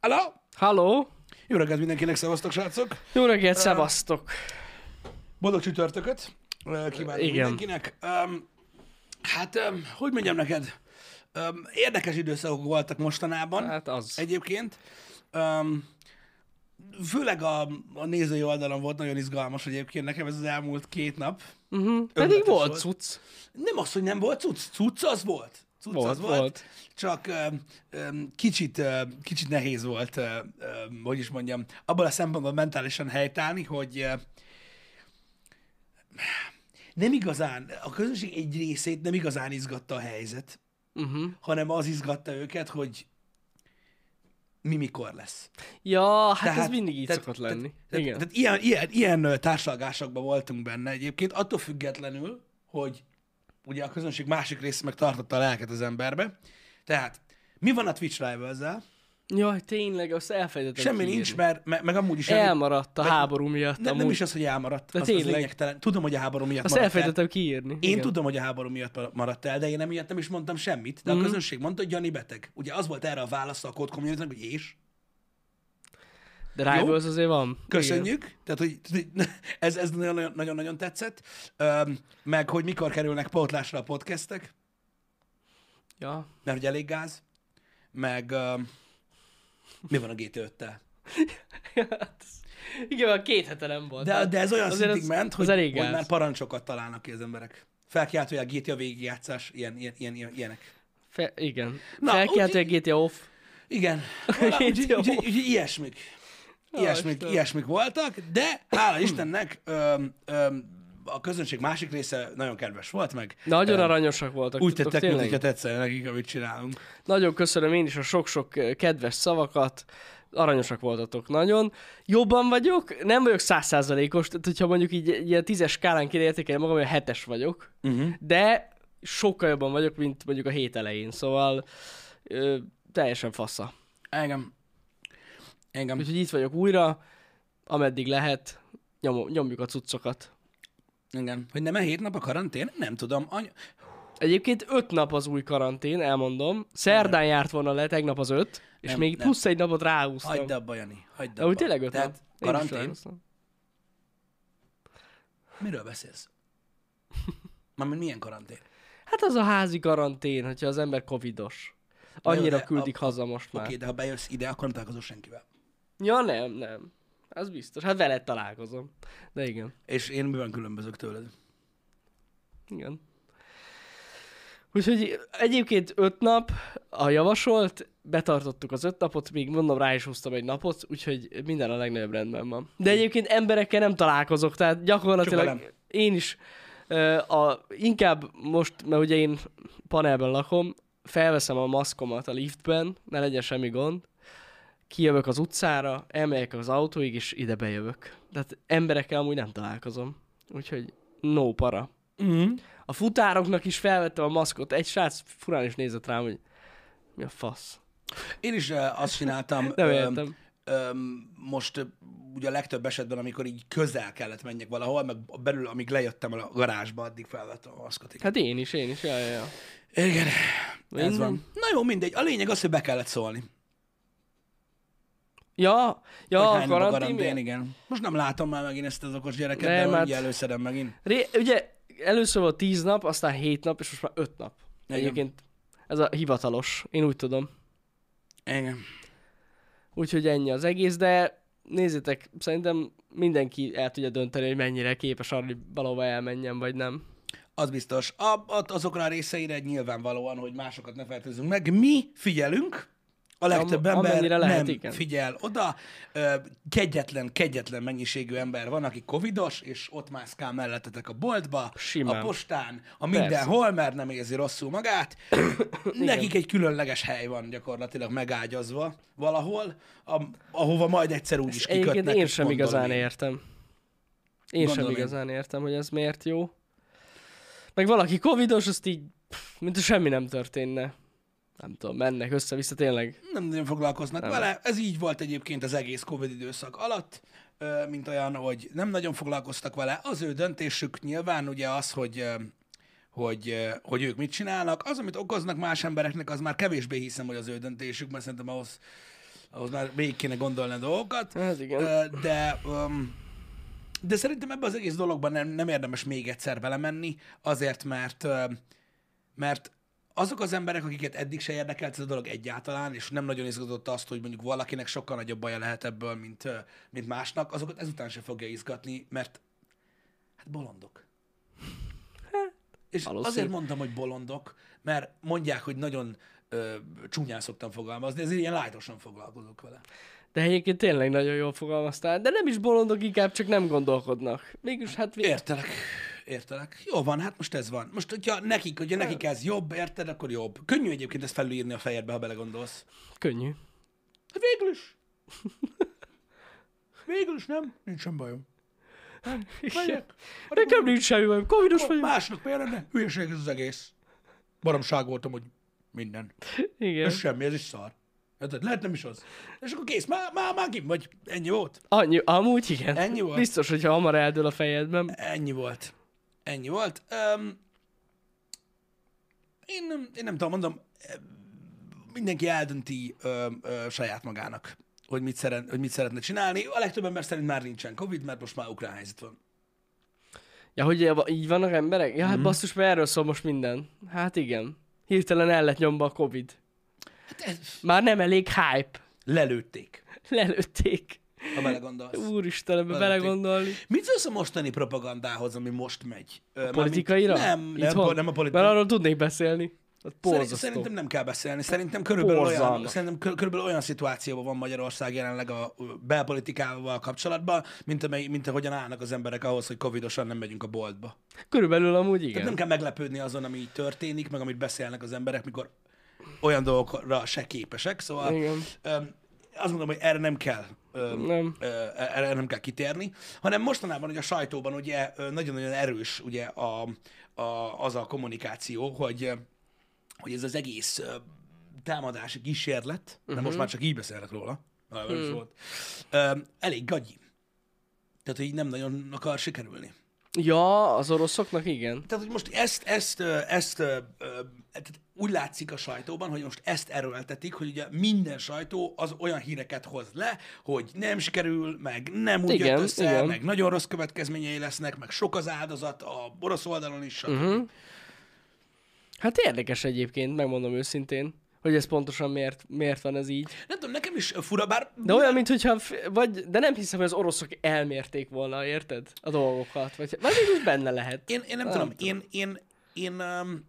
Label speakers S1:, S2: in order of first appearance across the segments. S1: Hello!
S2: Halló!
S1: Jó reggelt mindenkinek, szevasztok, srácok!
S2: Jó reggelt, szevasztok!
S1: Boldog csütörtököt! Ö, Kívánom
S2: Igen.
S1: mindenkinek. Öm, hát, öm, hogy mondjam neked? Öm, érdekes időszakok voltak mostanában.
S2: Hát az.
S1: Egyébként. Öm, főleg a, a nézői oldalon volt nagyon izgalmas egyébként nekem ez az elmúlt két nap.
S2: Uh-huh.
S1: Ötletes
S2: Pedig volt
S1: Mhm. volt.
S2: cucc.
S1: Nem az, hogy nem volt cucc, cucc az volt. Cucc az
S2: Volt,
S1: volt.
S2: volt.
S1: Csak öm, öm, kicsit, öm, kicsit nehéz volt, öm, öm, hogy is mondjam, abban a szempontból mentálisan helytállni, hogy öm, nem igazán, a közönség egy részét nem igazán izgatta a helyzet,
S2: Uh-huh.
S1: hanem az izgatta őket, hogy mi mikor lesz.
S2: Ja, hát tehát, ez mindig így szokott lenni.
S1: Tehát,
S2: Igen.
S1: Tehát ilyen, ilyen, ilyen ö, társalgásokban voltunk benne egyébként, attól függetlenül, hogy ugye a közönség másik része meg tartotta a lelket az emberbe. Tehát mi van a Twitch Rivals-zel?
S2: Jaj, tényleg, azt elfelejtettem
S1: Semmi
S2: kiírni.
S1: nincs, mert me, meg amúgy is...
S2: Elmaradt a
S1: Meg-
S2: háború miatt
S1: nem,
S2: amúgy.
S1: nem is az, hogy elmaradt.
S2: De
S1: Az, az
S2: tényleg.
S1: lényegtelen. Tudom, hogy a háború miatt
S2: Azt
S1: maradt el.
S2: elfelejtettem kiírni.
S1: Én
S2: Igen.
S1: tudom, hogy a háború miatt mar- maradt el, de én emiatt nem is mondtam semmit.
S2: Mhm.
S1: De a közönség mondta, hogy Jani beteg. Ugye az volt erre a válasz a Code community hogy és?
S2: De Rivals azért van. Igen.
S1: Köszönjük. Tehát, hogy hogy ez, ez nagyon- nagyon-nagyon tetszett. Öm, meg, hogy mikor kerülnek pótlásra a podcastek,
S2: Ja.
S1: mert hogy elég gáz. Meg öm, mi van a GT5-tel?
S2: Hát, igen, mert két hete nem volt.
S1: De,
S2: Hát
S1: de ez olyan
S2: azért
S1: szintig
S2: az-
S1: ment, hogy,
S2: az elég
S1: hogy
S2: gáz.
S1: már parancsokat találnak ki az emberek. Felkiáltója a GTA végigjátszás, ilyen, ilyen, ilyen, ilyen, ilyenek.
S2: Fe, igen.
S1: Na,
S2: Na, Felkiáltja a GTA off.
S1: Igen. Valahogy, úgyhogy,
S2: Jó.
S1: úgyhogy, úgyhogy ilyesmik. Ilyesmik,
S2: Istenem.
S1: ilyesmik voltak, de hála Istennek öm, öm, a közönség másik része nagyon kedves volt, meg
S2: Nagyon
S1: öm,
S2: aranyosak voltak.
S1: úgy
S2: tudtok,
S1: tettek, mint
S2: tényleg.
S1: hogyha tetszene nekik, amit csinálunk.
S2: Nagyon köszönöm én is a sok-sok eh, kedves szavakat, aranyosak voltatok nagyon. Jobban vagyok, nem vagyok százszázalékos, tehát hogyha mondjuk így egy ilyen tízes skálán kéne értékelni magam, olyan hetes vagyok,
S1: Uh-huh.
S2: de sokkal jobban vagyok, mint mondjuk a hét elején, szóval ö, teljesen fassa.
S1: Engem. Engem.
S2: Úgyhogy itt vagyok újra, ameddig lehet, nyom, nyomjuk a cuccokat.
S1: Igen. Hogy nem-e hét nap a karantén? Nem tudom. Any-
S2: Egyébként öt nap az új karantén, elmondom. Szerdán járt volna le, tegnap az öt, és
S1: Nem,
S2: még
S1: nem.
S2: plusz egy napot ráhúztam.
S1: Hagyd abba, Jani. Hagyd
S2: De úgy
S1: abba.
S2: Szóval- tényleg öt
S1: Tehát
S2: nap. Én is
S1: karantén.
S2: ráhúztam.
S1: Miről beszélsz? Mármint milyen karantén?
S2: Hát az a házi karantén, hogyha az ember covidos. Annyira
S1: de
S2: küldik
S1: a-
S2: haza most már.
S1: Oké, de ha bejössz ide, akkor nem találkozol senkivel.
S2: Ja, nem, nem. Az biztos. Hát veled találkozom. De igen.
S1: És én miben különbözök tőled?
S2: Igen. Úgyhogy egyébként öt nap a javasolt, betartottuk az öt napot, még mondom, rá is húztam egy napot, úgyhogy minden a legnagyobb rendben van. De egyébként emberekkel nem találkozok, tehát gyakorlatilag
S1: Csak velem.
S2: én is ö, a, inkább most, mert ugye én panelben lakom, felveszem a maszkomat a liftben, ne legyen semmi gond, kijövök az utcára, elmegyek az autóig, és ide bejövök. Tehát emberekkel amúgy nem találkozom. Úgyhogy no para.
S1: Mm.
S2: A futároknak is felvettem a maszkot. Egy srác furán is nézett rám, hogy mi a fasz.
S1: Én is ö, azt csináltam
S2: Nem
S1: ö,
S2: értem.
S1: ö, most ö, ugye a legtöbb esetben, amikor így közel kellett menjek valahol, meg belül, amíg lejöttem a garázsba, addig felvettem a maszkot. igen.
S2: Hát én is, én is, jaj, jaj.
S1: Igen, ez
S2: Minden.
S1: van. Na jó, mindegy. A lényeg az, hogy be kellett szólni.
S2: Ja, ja,
S1: Hogy
S2: a
S1: hány nap a
S2: karantén.
S1: karantén,
S2: miatt?
S1: igen. Most nem látom már megint ezt az okos gyereket,
S2: Nem,
S1: de
S2: hát-
S1: hát... előszedem megint.
S2: Ré- Ugye először volt 10 nap, aztán 7 nap, és most már 5 nap.
S1: Igen.
S2: Egyébként ez a hivatalos, én úgy tudom.
S1: Igen.
S2: Úgyhogy ennyi az egész, de nézzétek, szerintem mindenki el tudja dönteni, hogy mennyire képes arra, hogy valahova elmenjen, vagy nem.
S1: Az biztos. A, a, azokra a részeire nyilvánvalóan, hogy másokat ne fertőzzünk meg. Mi figyelünk, a legtöbb
S2: Am-
S1: ember
S2: amennyire lehet,
S1: nem
S2: igen.
S1: figyel oda. Ö, Kegyetlen, kegyetlen mennyiségű ember van, aki covidos, és ott mászkál mellettetek a boltba,
S2: Simán.
S1: a postán, a mindenhol, mert nem érzi rosszul magát. Nekik egy különleges hely van gyakorlatilag megágyazva valahol, a, ahova majd egyszer úgy is kikötnek.
S2: Egyébként én
S1: és
S2: sem
S1: gondolom
S2: igazán
S1: én.
S2: értem. Én
S1: Gondolom
S2: sem
S1: én.
S2: igazán értem, hogy ez miért jó. Meg valaki covidos, azt így, pff, mint ha semmi nem történne. Nem tudom, mennek össze-vissza tényleg.
S1: nem nagyon foglalkoznak nem. vele. Ez így volt egyébként az egész Covid időszak alatt, ö, mint olyan, hogy nem nagyon foglalkoztak vele. Az ő döntésük nyilván ugye az, hogy ö, hogy, ö, hogy ők mit csinálnak. Az, amit okoznak más embereknek, az már kevésbé hiszem, hogy az ő döntésük, mert szerintem ahhoz ahhoz már végig kéne gondolni a dolgokat.
S2: Hát igen.
S1: Ö, De, öm, de szerintem ebbe az egész dologban nem, nem érdemes még egyszer belemenni, azért mert, öm, mert azok az emberek, akiket eddig se érdekelt ez a dolog egyáltalán, és nem nagyon izgatott azt, hogy mondjuk valakinek sokkal nagyobb baja lehet ebből, mint, ö, mint másnak, azokat ezután se fogja izgatni, mert hát bolondok. És
S2: Valószínű.
S1: azért mondtam, hogy bolondok, mert mondják, hogy nagyon ö, csúnyán szoktam fogalmazni, ezért ilyen lájtosan foglalkozok vele.
S2: De egyébként tényleg nagyon jól fogalmaztál. De nem is bolondok, inkább csak nem gondolkodnak. Mégis hát... vi-
S1: Értelek, értelek. Jó van, hát most ez van. Most, hogyha nekik, hogyha nekik ez jobb, érted, akkor jobb. Könnyű egyébként ezt felülírni a fejedbe, ha belegondolsz.
S2: Könnyű.
S1: Hát végül is. Végül is nem. Nincsen bajom. Megyek.
S2: Nekem nincs semmi bajom. Covidos
S1: Akkor
S2: vagyok.
S1: Másnak miért lenne? Hülyeség ez az egész. Baromság voltam, hogy minden.
S2: Igen.
S1: Ez semmi, ez is szar. Érted? Lehet nem is az. És akkor kész, már, már, már kim vagy. Ennyi volt.
S2: Annyi, amúgy igen.
S1: Ennyi volt.
S2: Biztos, hogyha hamar eldől a fejedben.
S1: Ennyi volt. Ennyi volt. Um, én, nem, én nem tudom, mondom, em, mindenki eldönti ö, ö, saját magának, hogy mit, szeret, hogy mit szeretne csinálni. A legtöbb ember szerint már nincsen Covid, mert most már ukrán helyzet van.
S2: Ja, hogy ilyen- így vannak emberek? Ja,
S1: Mhm.
S2: hát basszus, mert erről szól most minden. Hát igen. Hirtelen el lett nyomva a Covid.
S1: Hát ez,
S2: Már nem elég hype.
S1: lelőtték,
S2: Lelőtték.
S1: ha belegondolsz.
S2: Úristen, ebbe
S1: Lelőtték.
S2: belegondolni.
S1: Mit szólsz a mostani propagandához, ami most megy? Ö, mármint-
S2: Politikaira?
S1: Nem, nem,
S2: Itthon?
S1: po- nem a
S2: Mert
S1: politikai.
S2: arról tudnék beszélni. Az
S1: Szerint,
S2: borzasztó.
S1: szerintem nem kell beszélni. Szerintem körülbelül, olyan,
S2: Borzalmas.
S1: szerintem kö- körülbelül olyan szituációban van Magyarország jelenleg a ö, belpolitikával kapcsolatban, mint, amely, mint ahogyan állnak az emberek ahhoz, hogy covidosan nem megyünk a boltba.
S2: Körülbelül amúgy igen.
S1: Tehát nem kell meglepődni azon, ami így történik, meg amit beszélnek az emberek, mikor olyan dolgokra se képesek. Szóval
S2: Igen.
S1: öm, azt mondom, hogy erre nem kell öm,
S2: Nem.
S1: ö, erre nem kell kitérni, hanem mostanában ugye a sajtóban ugye ö, nagyon-nagyon erős ugye a, a, az a kommunikáció, hogy ö, hogy ez az egész ö, támadási kísérlet,
S2: Mhm.
S1: uh-huh. de most már csak így beszélek róla, nagyon
S2: Hmm.
S1: erős volt, ö, elég gagyi. Tehát, hogy így nem nagyon akar sikerülni.
S2: Ja, az oroszoknak igen.
S1: Tehát, hogy most ezt, ezt, ö, ezt ö, ö, tehát úgy látszik a sajtóban, hogy most ezt erőltetik, hogy ugye minden sajtó az olyan híreket hoz le, hogy nem sikerül, meg nem úgy
S2: Igen,
S1: jött össze,
S2: igen.
S1: meg nagyon rossz következményei lesznek, meg sok az áldozat a orosz oldalon is.
S2: Mhm.
S1: Uh-huh.
S2: Hát érdekes egyébként, megmondom őszintén, hogy ez pontosan miért, miért van ez így.
S1: Nem tudom, nekem is fura, bár
S2: De olyan, mintha, vagy, de nem hiszem, hogy az oroszok elmérték volna, érted? A dolgokat, vagy, vagy mégis benne lehet.
S1: Én, én nem, tudom,
S2: Hát.
S1: én, én, én, um,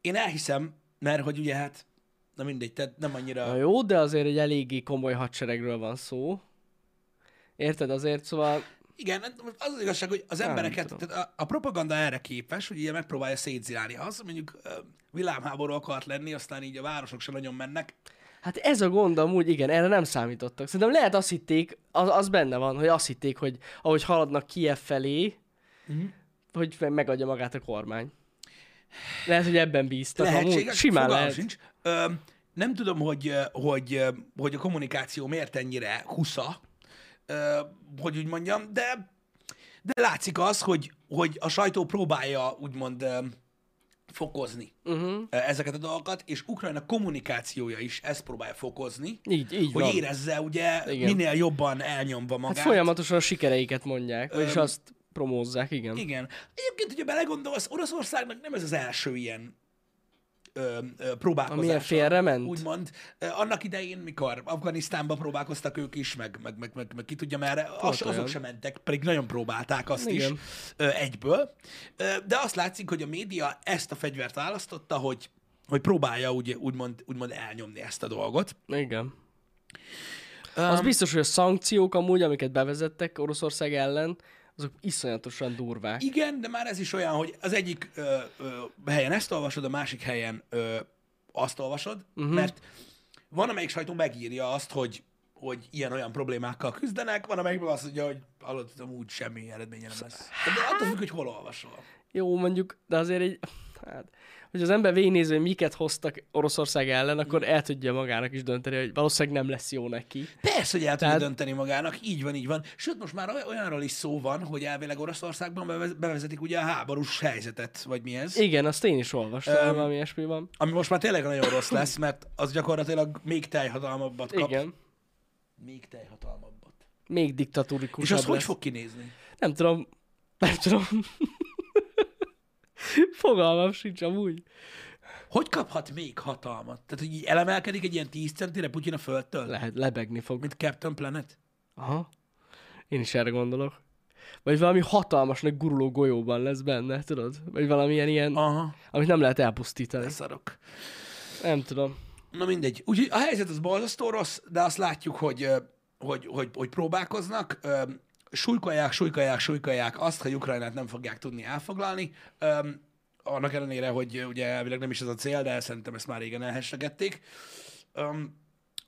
S1: én elhiszem, mert hogy ugye hát, na mindegy, tehát nem annyira...
S2: Na jó, de azért egy eléggé komoly hadseregről van szó. Érted azért, szóval
S1: Igen, hát most az az igazság, hogy az embereket,
S2: tudom.
S1: tehát a, a propaganda erre képes, hogy ugye megpróbálja szétzilálni. Az, mondjuk ö, világháború akart lenni, aztán így a városok se nagyon mennek.
S2: Hát ez a gond amúgy, igen, erre nem számítottak. Szerintem lehet azt hitték, az, az benne van, hogy azt hitték, hogy ahogy haladnak Kiev felé,
S1: Mhm.
S2: hogy me- megadja magát a kormány. Lehet, hogy ebben bíztak amúgy.
S1: Lehetséges,
S2: Simán
S1: fogalmam
S2: lehet.
S1: sincs. Ö, nem tudom, hogy, ö, hogy, ö, hogy a kommunikáció miért ennyire husza, ö, hogy úgy mondjam, de, de látszik az, hogy, hogy a sajtó próbálja úgymond ö, fokozni
S2: Mhm.
S1: uh-huh. ezeket a dolgokat, és Ukrajna kommunikációja is ezt próbálja fokozni.
S2: Így, így
S1: hogy
S2: van.
S1: érezze ugye Igen.
S2: Igen.
S1: minél jobban elnyomva magát.
S2: Hát folyamatosan a sikereiket mondják, és azt promózzák, igen.
S1: Igen. Egyébként, hogyha belegondolsz, Oroszországnak nem ez az első ilyen ö, ö, próbálkozása.
S2: Amilyen félrement?
S1: Úgymond. Ö, Annak idején, mikor Afganisztánba próbálkoztak ők is, meg, meg, meg, meg, meg ki tudja merre, az,
S2: olyan.
S1: azok sem mentek, pedig nagyon próbálták azt
S2: Igen.
S1: is ö, egyből. Ö, de azt látszik, hogy a média ezt a fegyvert választotta, hogy hogy próbálja úgy, úgymond, úgymond elnyomni ezt a dolgot.
S2: Igen. Az biztos, hogy a szankciók amúgy, amiket bevezettek Oroszország ellen, azok iszonyatosan durvák.
S1: Igen, de már ez is olyan, hogy az egyik ö, ö, helyen ezt olvasod, a másik helyen ö, azt olvasod,
S2: Mhm.
S1: uh-huh. mert van, amelyik sajtó megírja azt, hogy hogy ilyen-olyan problémákkal küzdenek, van, amelyikben azt mondja, hogy aludtam úgy semmi eredménye nem lesz. De attól függ, hogy hol olvasol.
S2: Jó, mondjuk, de azért egy... Hát, hogy az ember végignézi, hogy miket hoztak Oroszország ellen, akkor el tudja magának is dönteni, hogy valószínűleg nem lesz jó neki.
S1: Persze, hogy el tudja
S2: Tehát-
S1: dönteni magának, így van, így van. Sőt, most már oly- olyanról is szó van, hogy elvileg Oroszországban bevez- bevezetik ugye a háborús helyzetet, vagy mi ez.
S2: Igen, azt én is olvastam,
S1: Öm,
S2: um, valami ilyesmi van.
S1: Ami most már tényleg nagyon rossz lesz, mert az gyakorlatilag még teljhatalmabbat kap.
S2: Igen.
S1: még teljhatalmabbat.
S2: Még
S1: És
S2: diktatúrikusabb
S1: az hogy
S2: lesz.
S1: fog kinézni?
S2: Nem tudom. Nem tudom. Fogalmam sincs amúgy.
S1: Hogy kaphat még hatalmat? Tehát, hogy így elemelkedik egy ilyen 10 centire Putyin a földtől?
S2: Lehet, lebegni fog.
S1: Mint Captain Planet?
S2: Aha. Én is erre gondolok. Vagy valami hatalmas, nagy guruló golyóban lesz benne, tudod? Vagy valamilyen ilyen,
S1: Aha,
S2: amit nem lehet elpusztítani.
S1: leszarok.
S2: Nem tudom.
S1: Na mindegy. Úgyhogy a helyzet az borzasztó rossz, de azt látjuk, hogy, ö, hogy, hogy, hogy próbálkoznak. Ö, Súlykolják, súlykolják, súlykolják azt, hogy Ukrajnát nem fogják tudni elfoglalni. Ö, Annak ellenére, hogy ö, ugye elvileg nem is ez a cél, de szerintem ezt már régen elhessegették. Ö,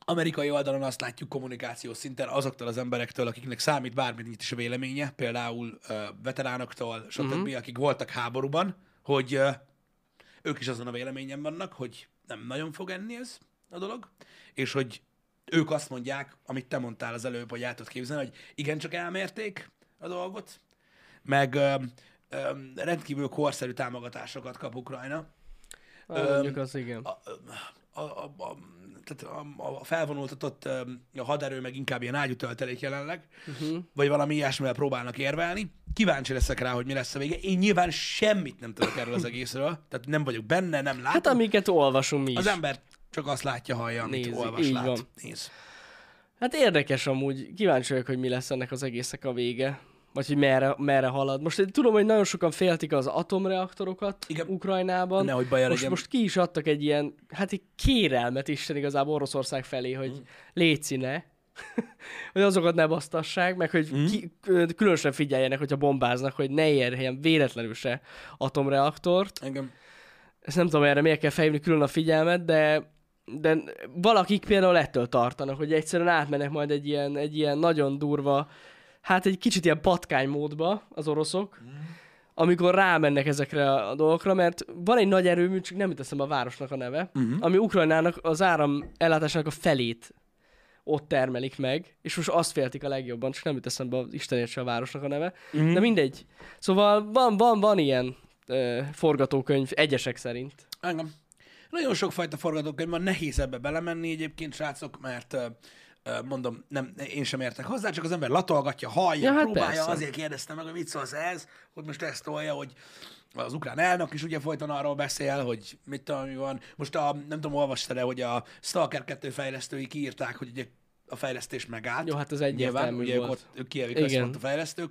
S1: Amerikai oldalon azt látjuk kommunikációs szinten azoktól az emberektől, akiknek számít bármit is a véleménye, például ö, veteránoktól, stb., uh-huh. akik voltak háborúban, hogy ö, ők is azon a véleményen vannak, hogy nem nagyon fog enni ez a dolog, és hogy ők azt mondják, amit te mondtál az előbb, hogy át tudod képzelni, hogy igencsak elmérték a dolgot, meg ö, ö, rendkívül korszerű támogatásokat kap Ukrajna.
S2: Hát, mondjuk az igen.
S1: A, a, a, a, tehát a, a felvonultatott ö, a haderő meg inkább ilyen ágyutöltelék jelenleg, uh-huh. vagy valami ilyesmivel próbálnak érvelni. Kíváncsi leszek rá, hogy mi lesz a vége. Én nyilván semmit nem tudok erről az egészről, tehát nem vagyok benne, nem látom.
S2: Hát amiket olvasunk mi is.
S1: Az ember csak azt látja, hallja, amit
S2: Nézi,
S1: olvas,
S2: így
S1: lát,
S2: van.
S1: néz.
S2: Hát érdekes amúgy, kíváncsi vagyok, hogy mi lesz ennek az egésznek a vége. Vagy hogy merre, merre halad. Most én tudom, hogy nagyon sokan féltik az atomreaktorokat
S1: Igen.
S2: Igen. Ukrajnában.
S1: Nehogy baja
S2: most,
S1: legyen.
S2: most ki is adtak egy ilyen, hát egy kérelmet Isten igazából Oroszország felé, hogy mm. léci ne, hogy azokat ne basztassák, meg hogy mm. ki, különösen figyeljenek, hogyha bombáznak, hogy ne érjen véletlenül se atomreaktort
S1: Engem.
S2: ezt nem tudom erre miért kell felhívni külön a figyelmet, de, de valakik például ettől tartanak, hogy egyszerűen átmennek majd egy ilyen, egy ilyen nagyon durva, hát egy kicsit ilyen patkánymódba az oroszok, amikor rámennek ezekre a a dolgokra, mert van egy nagy erőmű, csak nem jut eszembe a városnak a neve, uh-huh. ami Ukrajnának az áram ellátásának a felét ott termelik meg, és most azt féltik a legjobban, csak nem jut eszembe az Istenért se a városnak a neve, mm. de mindegy. Szóval van, van, van ilyen ö, forgatókönyv egyesek szerint.
S1: Engem. Nagyon sokfajta forgatókönyv van, nehéz ebbe belemenni egyébként, srácok, mert ö, ö, mondom, nem, én sem értek hozzá, csak az ember latolgatja, hallja, ja,
S2: Ja,
S1: hát
S2: hát
S1: próbálja, persze.
S2: persze.
S1: azért kérdeztem meg, hogy mit szólsz ez, hogy most ezt tolja, hogy az ukrán elnök is ugye folyton arról beszél, hogy mit tudom, mi van. Most a, nem tudom, olvastad-e, hogy a Stalker 2 fejlesztői kiírták, hogy ugye a fejlesztés megállt.
S2: Jó, hát ez
S1: Nyilván,
S2: egyértelmű
S1: ugye ők,
S2: volt.
S1: ott, ők kijevik
S2: Igen.
S1: ezt a fejlesztők,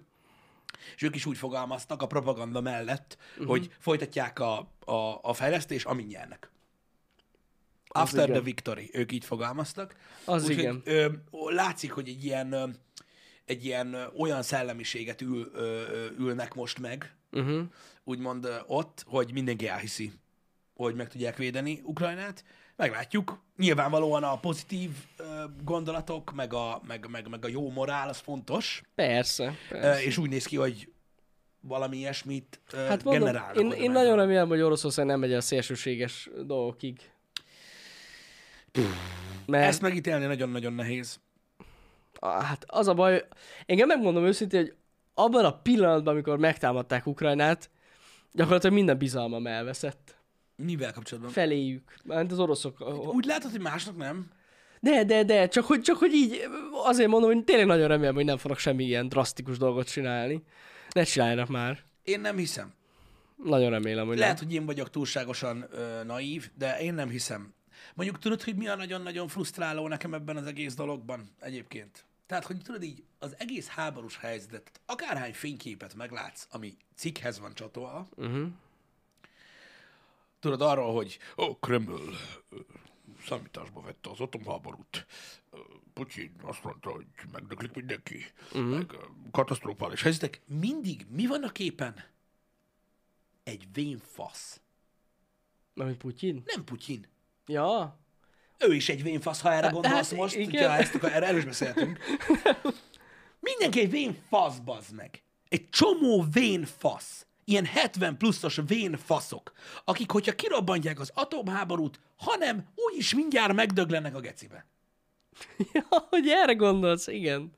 S1: és ők is úgy fogalmaztak a propaganda mellett,
S2: Mhm.
S1: uh-huh. hogy folytatják a, a, a fejlesztés, amint nyernek. After
S2: igen.
S1: the victory, ők így fogalmaztak.
S2: Az
S1: Úgyhogy,
S2: igen.
S1: Ö, látszik, hogy egy ilyen, ö, egy ilyen ö, olyan szellemiséget ül, ö, ö, ülnek most meg,
S2: Uh-huh.
S1: úgymond ö, ott, hogy mindenki elhiszi, hogy meg tudják védeni Ukrajnát. Meglátjuk. Nyilvánvalóan a pozitív ö, gondolatok, meg a, meg, meg, meg a jó morál, az fontos.
S2: Persze.
S1: Ö,
S2: persze.
S1: és úgy néz ki, hogy valami ilyesmit hát
S2: Hát mondom,
S1: generálnak.
S2: én,
S1: oda
S2: én
S1: meg.
S2: nagyon remélem, hogy Oroszország nem megy el szélsőséges dolgokig. Mert
S1: Ezt megítélni nagyon-nagyon nehéz.
S2: Ah, Hát az a baj, engem megmondom őszintén, hogy abban a pillanatban, amikor megtámadták Ukrajnát, gyakorlatilag minden bizalmam elveszett.
S1: Mivel kapcsolatban?
S2: Feléjük, mert az oroszok.
S1: Úgy látod, hogy másnak nem?
S2: De, de, de, csak hogy, csak hogy így, azért mondom, hogy tényleg nagyon remélem, hogy nem fognak semmi ilyen drasztikus dolgot csinálni. Ne csináljanak már.
S1: Én nem hiszem.
S2: Nagyon remélem, hogy
S1: Lehet, hogy én vagyok túlságosan ö, naív, de én nem hiszem. Mondjuk tudod, hogy mi a nagyon-nagyon frusztráló nekem ebben az egész dologban egyébként? Tehát, hogy tudod így, az egész háborús helyzetet, akárhány fényképet meglátsz, ami cikkhez van csatolva,
S2: nem. Uh-huh.
S1: Tudod, arról, hogy ó, Kreml ö, számításba vette az atomháborút, Ö, Putyin azt mondta, hogy megdöglik mindenki, uh-huh. meg ö, katasztrofális helyzetek. Mindig mi van a képen? Egy vén fasz.
S2: Mármint Putyin?
S1: Nem Putyin.
S2: Ja.
S1: Ő is egy vén fasz, ha erre
S2: Hát,
S1: gondolsz
S2: hát,
S1: most,
S2: igen.
S1: hogyha ezt akar, erre elős beszéltünk. Mindenki egy vén fasz, bazd meg. Egy csomó vén fasz. Ilyen 70 pluszos vén faszok, akik, hogyha kirobbantják az atomháborút, hanem úgyis mindjárt megdöglenek a gecibe.
S2: ja. hogy erre gondolsz, igen.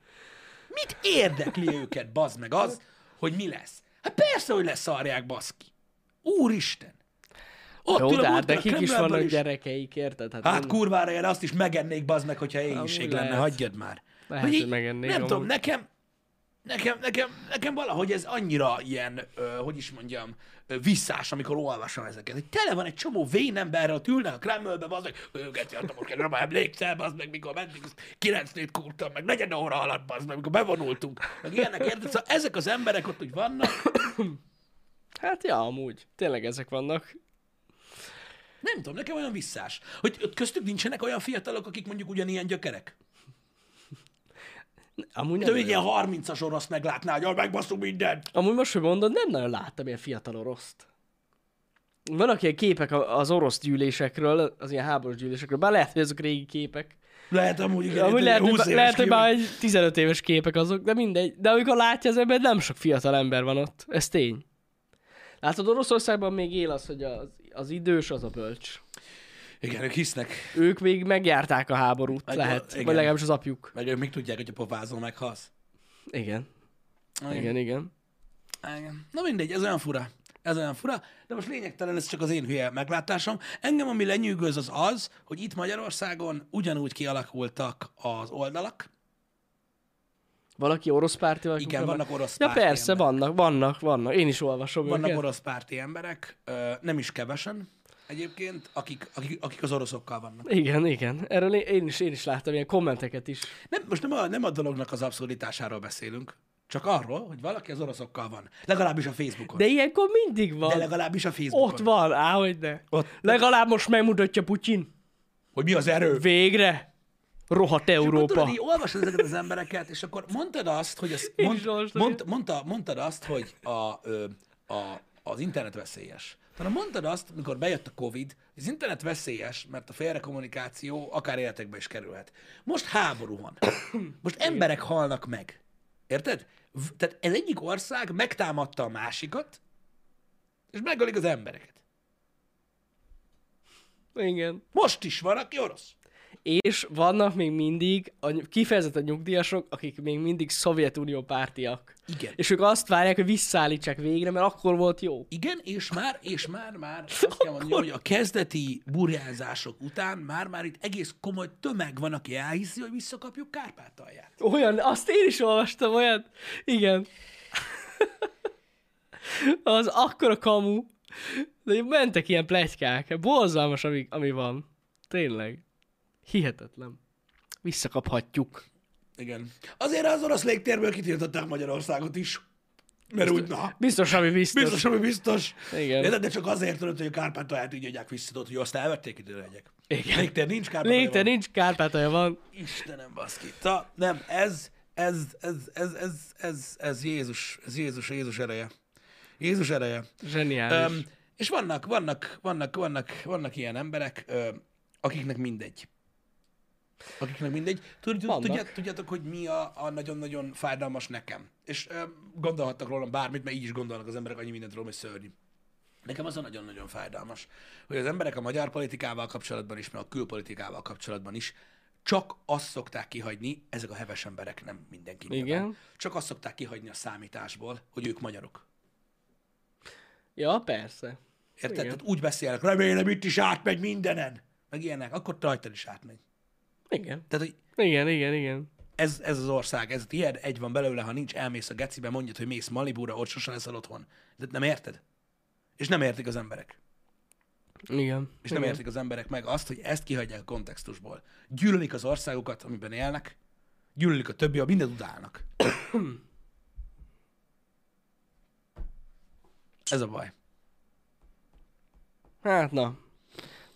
S1: Mit érdekli őket, bazd meg az, hogy mi lesz? Hát persze, hogy leszarják, baszki. Úristen. Ott
S2: Jó,
S1: ül a
S2: de hát
S1: múltkor a
S2: nekik is
S1: Kremlben
S2: vannak gyerekeik, érted? Hát,
S1: Hát
S2: nem-
S1: kurvára én azt is megennnék, bazd meg, hogyha éjjség
S2: Amúgy
S1: lenne,
S2: lehet.
S1: hagyjad már.
S2: Lehet, hogy, hogy megennék.
S1: nem
S2: amúgy.
S1: tudom, nekem, nekem, nekem, nekem valahogy ez annyira ilyen, ö, hogy is mondjam, ö, visszás, amikor olvasom ezeket. Hogy tele van egy csomó vén emberre, ott ülnek a Kremlbe, az meg, hát őket jártam, hogy nem emlékszel, az meg, mikor mentünk, azt kilenc nét kurtam, meg negyed óra alatt, az meg, mikor bevonultunk, meg ilyenek, érted? Szóval ezek az emberek ott úgy vannak,
S2: Hát ja, amúgy. Tényleg ezek vannak.
S1: nem tudom, nekem olyan visszás. Hogy ott köztük nincsenek olyan fiatalok, akik mondjuk ugyanilyen gyökerek.
S2: Amúgy, nem
S1: De egy
S2: nagyon.
S1: ilyen 30-as orosz meglátná, hogy "Jaj, megbaszunk mindent.
S2: amúgy most, hogy mondod, nem nagyon láttam ilyen fiatal oroszt. Vannak ilyen képek a- az orosz gyűlésekről, az ilyen háborús gyűlésekről, bár lehet, hogy azok régi képek.
S1: Lehet amúgy, igen,
S2: Amúgy
S1: itt
S2: lehet, hogy,
S1: 20
S2: bá-
S1: éves
S2: lehet, hogy
S1: kijön.
S2: már egy 15 éves képek azok, de mindegy. De amikor látja az ember, nem sok fiatal ember van ott. Ez tény. Látod, Oroszországban még él az, hogy az, az idős az a bölcs.
S1: Igen, ők hisznek.
S2: Ők még megjárták a háborút,
S1: Meg-
S2: lehet.
S1: igen.
S2: Vagy legalábbis az apjuk.
S1: Meg ők még tudják, hogy a pofázol meghalsz.
S2: Igen. Ah, Igen, igen.
S1: Igen. Na mindegy, ez olyan fura. Ez olyan fura, de most lényegtelen, ez csak az én hülye meglátásom. Engem ami lenyűgöz az az, hogy itt Magyarországon ugyanúgy kialakultak az oldalak.
S2: Valaki orosz párti? Valaki
S1: Igen, vannak orosz
S2: Ja
S1: párti
S2: persze,
S1: emberek.
S2: vannak, vannak, vannak. Én is olvasom
S1: Vannak
S2: őket.
S1: orosz párti emberek, ö, nem is kevesen egyébként, akik, akik, akik az oroszokkal vannak.
S2: Igen, igen. Erről én- én is, én is láttam ilyen kommenteket is.
S1: Nem, most nem a, nem a dolognak az abszurditásáról beszélünk, csak arról, hogy valaki az oroszokkal van. Legalábbis a Facebookon. De,
S2: De ilyenkor mindig van.
S1: de legalábbis a Facebookon.
S2: Ott van, áhogy ne.
S1: Ott.
S2: Legalább most megmutatja Putyin.
S1: Hogy mi az erő?
S2: Végre! Rohadt
S1: Akkor
S2: Európa.
S1: tudod, így olvasod ezeket az embereket, és akkor mondtad azt, hogy az,
S2: Én
S1: mond,
S2: is olvastam
S1: mond, mondta, mondtad azt, hogy a, ö, a, az internet veszélyes. Hanem mondtad azt, mikor bejött a Covid, hogy az internet veszélyes, mert a félrekommunikáció akár életekbe is kerülhet. Most háború van. Most emberek halnak meg. Érted? V- Tehát ez egyik ország megtámadta a másikat, és megölik az embereket.
S2: Igen.
S1: Most is van, aki orosz.
S2: És vannak még mindig, a, ny- kifejezetten nyugdíjasok, akik még mindig Szovjetunió pártiak.
S1: Igen.
S2: És ők azt várják, hogy visszaállítsák végre, mert akkor volt jó.
S1: Igen, és már, és már, már azt kell mondjam, hogy a kezdeti burjánzások után már, már itt egész komoly tömeg van, aki elhiszi, hogy visszakapjuk Kárpátalját.
S2: Olyan, azt én is olvastam, olyan. Igen. Az akkora kamu. De mentek ilyen plegykák. Borzalmas, ami, ami van. Tényleg. Hihetetlen. Visszakaphatjuk.
S1: Igen. Azért az orosz légtérből kitiltották Magyarországot is. Mert úgy, na,
S2: Biztos, ami biztos.
S1: biztos, ami biztos.
S2: Igen.
S1: Érted? De csak azért tudod, hogy a Kárpátalját így adják vissza, tudod, hogy azt elvették idő legyek. Igen. Légtér nincs, Kárpátalja
S2: Légte,
S1: van.
S2: nincs Kárpátalja van.
S1: Istenem, baszki. Ta, nem, ez, ez, ez, ez, ez, ez, ez Jézus, ez Jézus, Jézus ereje. Jézus ereje.
S2: Zseniális.
S1: Öm, és vannak, vannak, vannak, vannak, vannak ilyen emberek, öm, akiknek mindegy. Akiknek mindegy. Tud, tud,
S2: Vannak.
S1: tudját, tudjátok, hogy mi a, a nagyon-nagyon fájdalmas nekem. És öm, gondolhattak rólam bármit, mert így is gondolnak az emberek annyi mindent rólam, hogy szörnyű. Nekem az a nagyon-nagyon fájdalmas, hogy az emberek a magyar politikával kapcsolatban is, meg a külpolitikával kapcsolatban is csak azt szokták kihagyni, ezek a heves emberek, nem mindenki. nyilván.
S2: Igen.
S1: Csak azt szokták kihagyni a számításból, hogy ők magyarok.
S2: Ja, persze.
S1: Érted?
S2: Igen.
S1: Tehát úgy beszélnek, remélem itt is átmegy mindenen, meg ilyenek, akkor te rajtad is átmegy.
S2: Igen.
S1: Tehát, hogy
S2: Igen, igen, igen.
S1: ez, ez az ország, ez ilyen, egy van belőle, ha nincs, elmész a gecibe, mondjad, hogy mész Malibúra, ott sosem leszel otthon. De nem érted? És nem értik az emberek.
S2: Igen.
S1: És nem
S2: igen.
S1: értik az emberek meg azt, hogy ezt kihagyják a kontextusból. Gyűlölik az országokat, amiben élnek, gyűlölik a többi, a mindent událnak. Ez a baj.
S2: Hát na.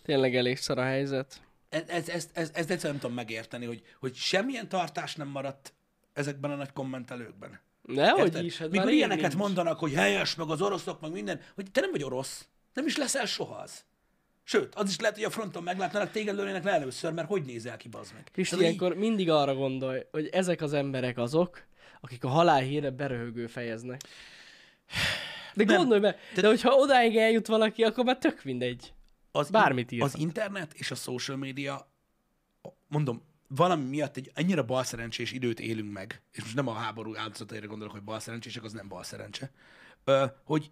S2: Tényleg elég szar a helyzet.
S1: ez, ez, ez, ez, ez egyszerűen nem tudom megérteni, hogy, hogy semmilyen tartás nem maradt ezekben a nagy kommentelőkben.
S2: Nehogy
S1: Érted?
S2: is. Hát már
S1: Mikor
S2: rég
S1: ilyeneket
S2: nincs.
S1: mondanak, hogy helyes, meg az oroszok, meg minden, hogy te nem vagy orosz, nem is leszel soha az. Sőt, az is lehet, hogy a fronton meglátnának, téged lőnének le először, mert hogy nézel ki, bazd meg.
S2: Pisti,
S1: Tehát, hogy
S2: ilyenkor mindig arra gondolj, hogy ezek az emberek azok, akik a halál híre beröhögő fejeznek. De
S1: Nem.
S2: gondolj be, de hogyha odáig eljut valaki, akkor már tök mindegy.
S1: az,
S2: bármit írhat.
S1: Az internet és a social media, mondom, valami miatt egy annyira balszerencsés időt élünk meg, és most nem a háború áldozataira gondolok, hogy balszerencsések, az nem balszerencse, ö, hogy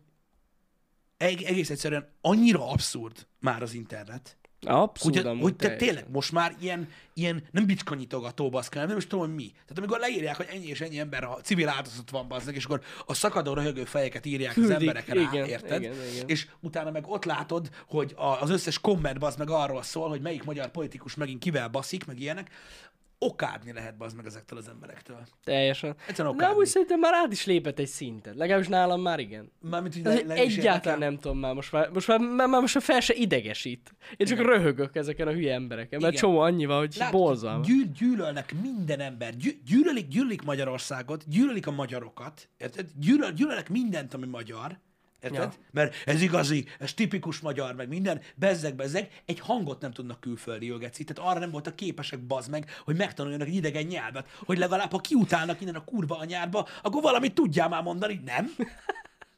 S1: eg- egész egyszerűen annyira abszurd már az internet,
S2: Abszolút.
S1: Hogy,
S2: amúgy
S1: hogy te
S2: teljesen.
S1: tényleg most már ilyen, ilyen nem bicskanyitogató baszkál, nem is tudom, hogy mi. Tehát amikor leírják, hogy ennyi és ennyi ember a civil áldozat van bazdnak, és akkor a szakadó röhögő fejeket írják az
S2: Küldik,
S1: emberek rá,
S2: igen,
S1: érted?
S2: igen, igen.
S1: És utána meg ott látod, hogy a- az összes komment bazd meg arról szól, hogy melyik magyar politikus megint kivel baszik, meg ilyenek. Okádni lehet bazd meg ezektől az emberektől.
S2: Teljesen.
S1: Egyszerűen
S2: De amúgy
S1: okádni.
S2: szerintem már át is lépett egy szintet. Legalábbis nálam már igen.
S1: Mármint, hogy
S2: Ez
S1: le, le is érdekel.
S2: egyáltalán nem tudom már, most már, most már, már, már most már fel se idegesít. Én csak Igen. röhögök ezeken a hülye embereken, mert
S1: Igen.
S2: csomó annyi van, hogy
S1: Látod,
S2: borzalmas.
S1: Gyűl, gyűlölnek minden ember. Gyű, gyűlölik, gyűlölik Magyarországot, gyűlölik a magyarokat, érted? Gyűlöl, gyűlölnek mindent, ami magyar, érted?
S2: Ja.
S1: Mert ez igazi, ez tipikus magyar, meg minden, bezzeg, bezzeg, egy hangot nem tudnak külföldi geci, tehát arra nem voltak képesek, bazd meg, hogy megtanuljanak egy idegen nyelvet, hogy legalább, ha kiutálnak innen a kurva anyádba, akkor valamit tudjál már mondani, nem?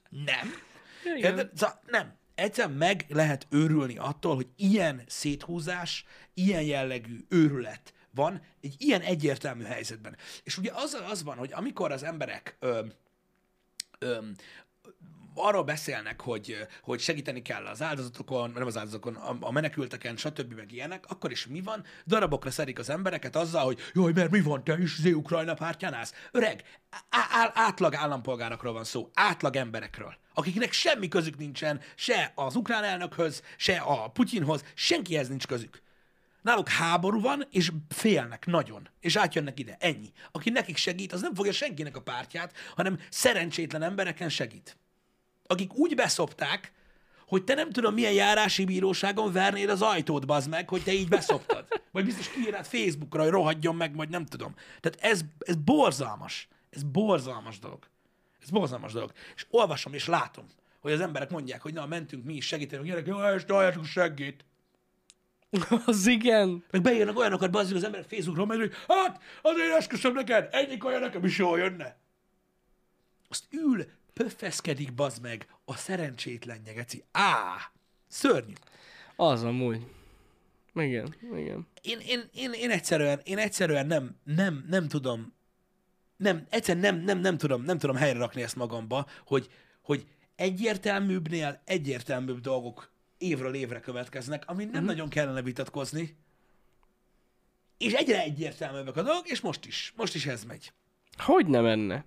S1: Nem.
S2: Igen.
S1: Érted? Szóval nem. Egyszerűen meg lehet őrülni attól, hogy ilyen széthúzás, ilyen jellegű őrület van egy ilyen egyértelmű helyzetben. És ugye az, az van, hogy amikor az emberek ö, öm, arról beszélnek, hogy, hogy segíteni kell az áldozatokon, nem az áldozatokon, a, a menekülteken, stb. meg ilyenek, akkor is mi van? Darabokra szerik az embereket azzal, hogy jaj, mert mi van, te is az Ukrajna pártján állsz? Öreg, á, á, átlag állampolgárokról van szó, átlag emberekről, akiknek semmi közük nincsen, se az ukrán elnökhöz, se a Putyinhoz, senkihez nincs közük. Náluk háború van, és félnek nagyon, és átjönnek ide. Ennyi. Aki nekik segít, az nem fogja senkinek a pártját, hanem szerencsétlen embereken segít. Akik úgy beszopták, hogy te nem tudom, milyen járási bíróságon vernéd az ajtót, bazd meg, hogy te így beszoptad. Vagy biztos kiírnád Facebookra, hogy rohadjon meg, vagy nem tudom. Tehát ez, ez borzalmas. Ez borzalmas dolog. Ez borzalmas dolog. És olvasom és látom, hogy az emberek mondják, hogy na, mentünk mi is segíteni, hogy gyerek, és halljátok segít.
S2: Az igen.
S1: Meg beírnak olyanokat, bazdmeg az emberek Facebookról, meg hogy hát, azért esküszöm neked, egyik olyan nekem is jól jönne. Azt ül, pöffeszkedik, bazd meg, a szerencsétlen nyegeci. Á, szörnyű.
S2: Az amúgy. Igen, igen.
S1: Én, én, én, én egyszerűen, én egyszerűen nem, nem, nem tudom, nem, egyszerűen nem, nem, nem tudom, nem tudom helyre rakni ezt magamba, hogy, hogy egyértelműbbnél egyértelműbb dolgok évről évre következnek, amin nem nagyon kellene vitatkozni, és egyre egyértelműbbek a dolgok, és most is, most is ez megy.
S2: Hogy nem enne?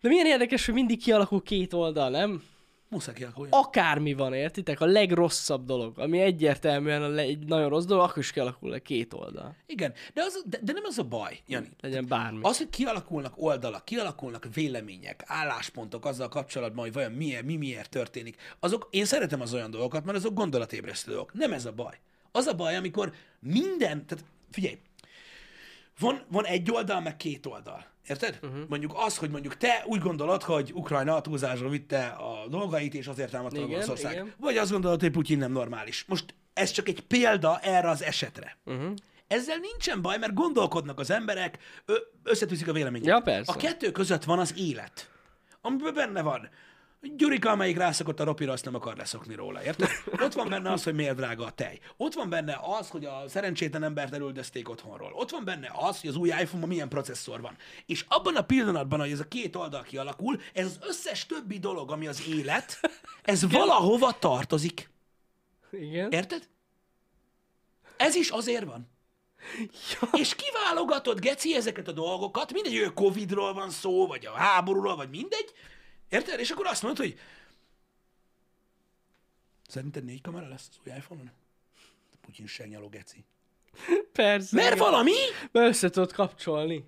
S2: De milyen érdekes, hogy mindig kialakul két oldal, nem?
S1: Muszáj kialakuljon.
S2: Akármi van, értitek? A legrosszabb dolog, ami egyértelműen a le- egy nagyon rossz dolog, akkor is kialakul a két oldal.
S1: Igen, de, az, de, de nem az a baj, Jani.
S2: Legyen bármi.
S1: Az, hogy kialakulnak oldalak, kialakulnak vélemények, álláspontok azzal kapcsolatban, hogy vajon milyen, mi miért történik, azok, én szeretem az olyan dolgokat, mert azok gondolatébresztő dolgok. Nem ez a baj. Az a baj, amikor minden, tehát figyelj, van, van egy oldal, meg két oldal. Érted?
S2: Mhm.
S1: Uh-huh. Mondjuk az, hogy mondjuk te úgy gondolod, hogy Ukrajna túlzásra vitte a dolgait, és azért támadta
S2: Igen,
S1: Oroszország.
S2: igen.
S1: Vagy azt gondolod, hogy Putyin nem normális. Most ez csak egy példa erre az esetre.
S2: Mhm.
S1: Uh-huh. Ezzel nincsen baj, mert gondolkodnak az emberek, ö- összetűzik a vélemények.
S2: Ja, persze.
S1: A kettő között van az élet, amiben benne van. Gyurika, amelyik rászokott a ropira, azt nem akar leszokni róla, érted? Ott van benne az, hogy miért drága a tej. Ott van benne az, hogy a szerencsétlen embert elüldözték otthonról. Ott van benne az, hogy az új iPhone-ban milyen processzor van. És abban a pillanatban, hogy ez a két oldal kialakul, ez az összes többi dolog, ami az élet, ez valahova tartozik.
S2: Igen.
S1: Érted? Ez is azért van. Ja. És kiválogatod, geci, ezeket a dolgokat, mindegy, hogy Covid-ról van szó, vagy a háborúról, vagy mindegy. Érted? És akkor azt mondod, hogy szerinted négy kamera lesz az új iPhone-on? Putyin segnyaló, geci.
S2: Persze.
S1: Mert
S2: igen.
S1: valami
S2: Mert össze tudod kapcsolni.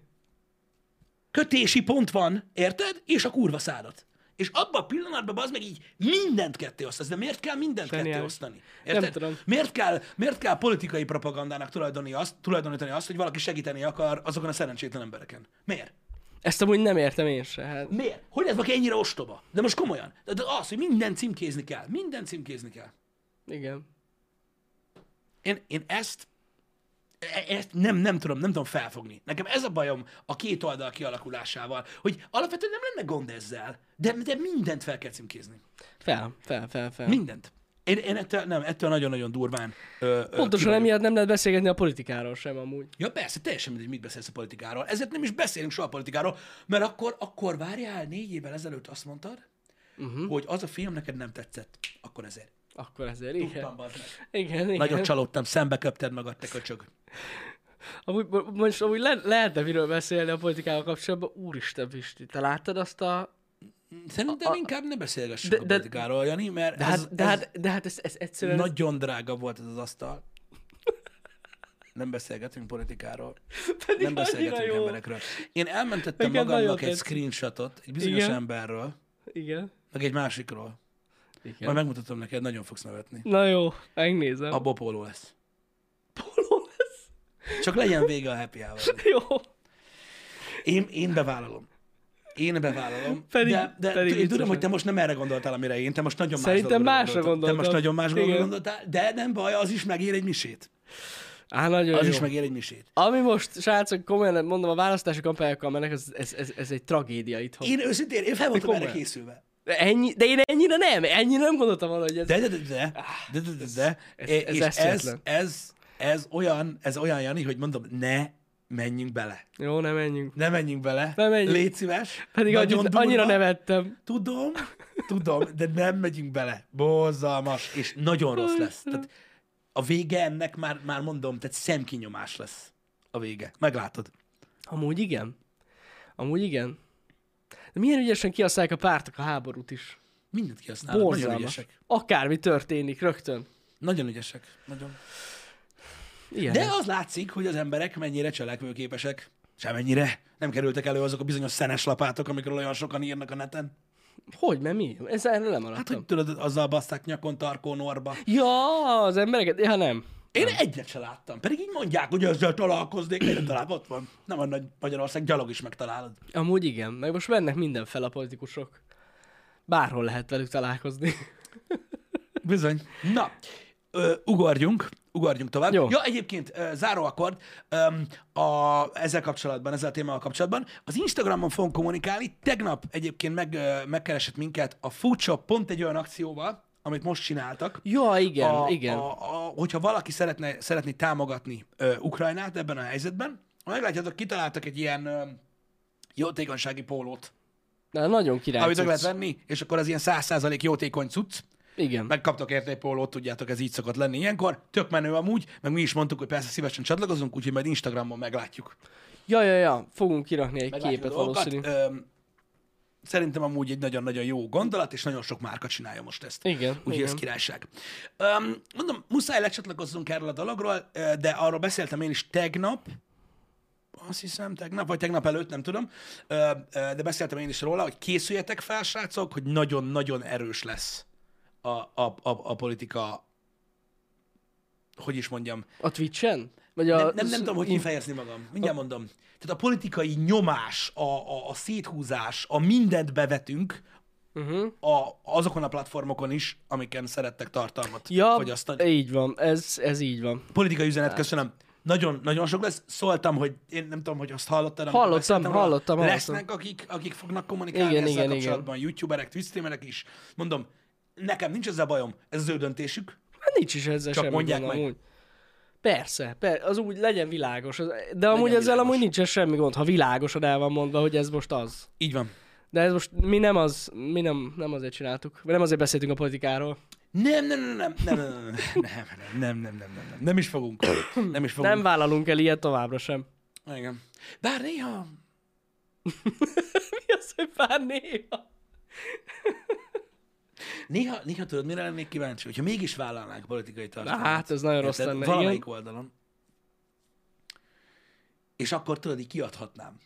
S1: kötési pont van, érted? És a kurva szádat. És abban a pillanatban az meg így mindent ketté osztasz. De miért kell mindent
S2: Zseniális.
S1: ketté osztani? Érted?
S2: Nem tudom.
S1: Miért kell, miért kell politikai propagandának tulajdonítani azt, tulajdonítani azt, hogy valaki segíteni akar azokon a szerencsétlen embereken? Miért?
S2: Ezt amúgy nem értem én se. Hát.
S1: Miért? Hogy lehet valaki ennyire ostoba? De most komolyan. De de az, hogy minden címkézni kell. Minden címkézni kell.
S2: Igen.
S1: Én, én ezt, e- ezt nem, nem tudom, nem tudom felfogni. Nekem ez a bajom a két oldal kialakulásával, hogy alapvetően nem lenne gond ezzel, de, de mindent fel kell címkézni.
S2: Fel, fel, fel, fel.
S1: Mindent. Én, én ettől, nem, ettől nagyon-nagyon durván. Ö, ö,
S2: Pontosan
S1: kivagyok.
S2: emiatt nem lehet beszélgetni a politikáról sem amúgy.
S1: Ja persze, teljesen mindegy, mit beszélsz a politikáról. Ezért nem is beszélünk soha a politikáról, mert akkor, akkor várjál, négy évvel ezelőtt azt mondtad, uh-huh. hogy az a film neked nem tetszett, akkor ezért.
S2: Akkor ezért igen.
S1: Tudtam, bazd meg.
S2: Igen, igen.
S1: Nagyon csalódtam, szembe köpted magad, te köcsög.
S2: Amúgy, most amúgy le, lehetne miről beszélni a politikával kapcsolatban. Úristen, Pisti, te láttad azt a...
S1: Szerintem
S2: A- a-
S1: inkább ne beszélgessünk
S2: de-
S1: a
S2: de-
S1: politikáról, Jani, mert
S2: De
S1: ez,
S2: hát, de
S1: ez
S2: hát, de hát ez, ez egyszerűen... Nagy...
S1: nagyon drága volt ez az asztal. Nem beszélgetünk politikáról.
S2: Pedig
S1: Nem
S2: annyira
S1: beszélgetünk
S2: jó.
S1: emberekről. Én elmentettem
S2: Nekem nagyon
S1: magamnak egy
S2: tetszik.
S1: screenshotot egy bizonyos
S2: Igen.
S1: emberről,
S2: Igen.
S1: meg egy másikról.
S2: igen.
S1: Majd megmutatom neked, nagyon fogsz nevetni.
S2: Na jó, megnézem. A
S1: Abba póló lesz.
S2: póló lesz.
S1: Csak legyen vége a happy hour
S2: Jó.
S1: Én, én bevállalom. Én bevállalom.
S2: Pedig-
S1: de de
S2: pedig
S1: pedig én tudom,
S2: biztosan.
S1: hogy te most nem erre gondoltál, amire én. Te most nagyon más
S2: Szerintem
S1: dologra
S2: másra
S1: Te most
S2: gondoltam.
S1: nagyon más dologra
S2: Igen.
S1: gondoltál, de nem baj, az is megér egy misét.
S2: Á, nagyon
S1: Az
S2: jó.
S1: is megér egy misét.
S2: Ami most, srácok, komolyan mondom, a választási kampányokkal mennek, ez, ez, ez, ez egy tragédia itthon.
S1: Én őszintén, én fel voltam erre
S2: komolyan.
S1: készülve.
S2: De, ennyi, de én ennyire nem, ennyire nem gondoltam volna, hogy ez...
S1: De, de, de, de, de, de, de, de.
S2: Ah, ez-
S1: É,
S2: ez
S1: és ez,
S2: eszméletlen.
S1: ez, ez, olyan, ez olyan, Jani, hogy mondom, ne menjünk bele.
S2: Jó, nem menjünk.
S1: Ne menjünk bele.
S2: Ne menjünk.
S1: Légy szíves.
S2: Pedig
S1: Nagyon
S2: annyit,
S1: durva.
S2: annyira nevettem.
S1: Tudom, tudom, de nem megyünk bele. Borzalmas, és nagyon rossz lesz. Tehát a vége ennek már, már mondom, tehát szemkinyomás lesz a vége. Meglátod.
S2: Amúgy igen. Amúgy igen. De milyen ügyesen kiasználják a pártok a háborút is.
S1: Mindent kihasználnak. Nagyon
S2: Borzalmas.
S1: ügyesek.
S2: Akármi történik, rögtön.
S1: Nagyon ügyesek. Nagyon.
S2: Ilyen.
S1: De az látszik, hogy az emberek mennyire cselekvőképesek. Semennyire. Nem kerültek elő azok a bizonyos szenes lapátok, amikről olyan sokan írnak a neten.
S2: Hogy, mert mi? Ez erről lemaradtam.
S1: Hát, hogy tudod, azzal baszták nyakon Tarkó Norba.
S2: Ja, az embereket? Ja, nem.
S1: Én egyet se láttam. Pedig így mondják, hogy ezzel találkoznék. Egyet talál, ott van. Nem a nagy Magyarország, gyalog is megtalálod.
S2: Amúgy igen. Meg most mennek minden fel a politikusok. Bárhol lehet velük találkozni.
S1: Bizony. Na, ö, ugorjunk, ugorjunk tovább.
S2: Jó.
S1: Ja, egyébként ö, záróakord öm, a, ezzel kapcsolatban, ezzel a témával kapcsolatban. Az Instagramon fogunk kommunikálni. Tegnap egyébként meg, ö, megkeresett minket a Foodshop pont egy olyan akcióval, amit most csináltak.
S2: ja, igen,
S1: a,
S2: igen.
S1: A, a, hogyha valaki szeretne, szeretné támogatni ö, Ukrajnát ebben a helyzetben, ha meglátjátok, kitaláltak egy ilyen ö, jótékonysági pólót,
S2: Na, nagyon király.
S1: amit meg
S2: cucc.
S1: lehet venni, és akkor az ilyen 100% jótékony cucc,
S2: Igen. Meg...
S1: megkaptak érte egy pólót, tudjátok, ez így szokott lenni ilyenkor. Tök menő amúgy, meg mi is mondtuk, hogy persze szívesen csatlakozunk, úgyhogy majd Instagramon meglátjuk.
S2: Ja, ja, ja. Fogunk kirakni egy
S1: Meglátjuk
S2: képet
S1: a dolgokat.
S2: valószínű.
S1: Öm, Szerintem amúgy egy nagyon-nagyon jó gondolat, és nagyon sok márka csinálja most ezt.
S2: Igen,
S1: Úgyhogy ez
S2: igen.
S1: királyság. Öm, mondom, muszáj lecsatlakozzunk erről a dologról, ö, de arról beszéltem én is tegnap, azt hiszem tegnap, vagy tegnap előtt, nem tudom, ö, ö, de beszéltem én is róla, hogy készüljetek fel, srácok, hogy nagyon-nagyon erős lesz a, a, a, a politika, hogy is mondjam,
S2: A Twitch-en? Vagy a...
S1: nem, nem, nem tudom, hogy kifejezni magam. Mindjárt mondom. Tehát a politikai nyomás, a, a, a széthúzás, a mindent bevetünk
S2: Uh-huh.
S1: a, azokon a platformokon is, amiken szerettek tartalmat
S2: Ja,
S1: fogyasztani.
S2: így van. Ez, ez így van.
S1: Politikai üzenet, köszönöm. Nagyon, nagyon sok lesz. Szóltam, hogy én nem tudom, hogy azt hallottad. amikor
S2: Hallottam,
S1: beszéltem róla.
S2: hallottam, hallottam.
S1: Lesznek, akik, akik fognak kommunikálni
S2: Igen,
S1: igen, ezzel
S2: igen,
S1: igen, kapcsolatban. Igen. Youtuberek, twitchstreamerek is. Mondom, nekem nincs ezzel bajom. Ez az ő döntésük.
S2: Hát nincs is ezzel
S1: Csak
S2: semmi
S1: mondják
S2: gond,
S1: meg.
S2: amúgy. Persze, per, az úgy legyen világos. Az- De amúgy ezzel
S1: világos.
S2: amúgy nincsen semmi gond, ha világosan el van mondva, hogy ez most az.
S1: Így van.
S2: De ez most mi nem az, mi nem, nem azért csináltuk, vagy nem azért beszéltünk a politikáról.
S1: Nem, nem, nem, nem, nem, nem, nem, nem, nem, nem, nem, nem, nem, nem is fogunk. Nem is fogunk.
S2: Nem vállalunk el ilyet továbbra sem.
S1: Igen. Bár néha...
S2: mi az, hogy bár néha?
S1: Néha, néha tudod, mire lennék kíváncsi? Hogyha mégis vállalnánk politikai tartalmat.
S2: Hát, ez nagyon rossz
S1: érted?
S2: lenne,
S1: Valamelyik
S2: igen.
S1: oldalon. És akkor tudod, így kiadhatnám.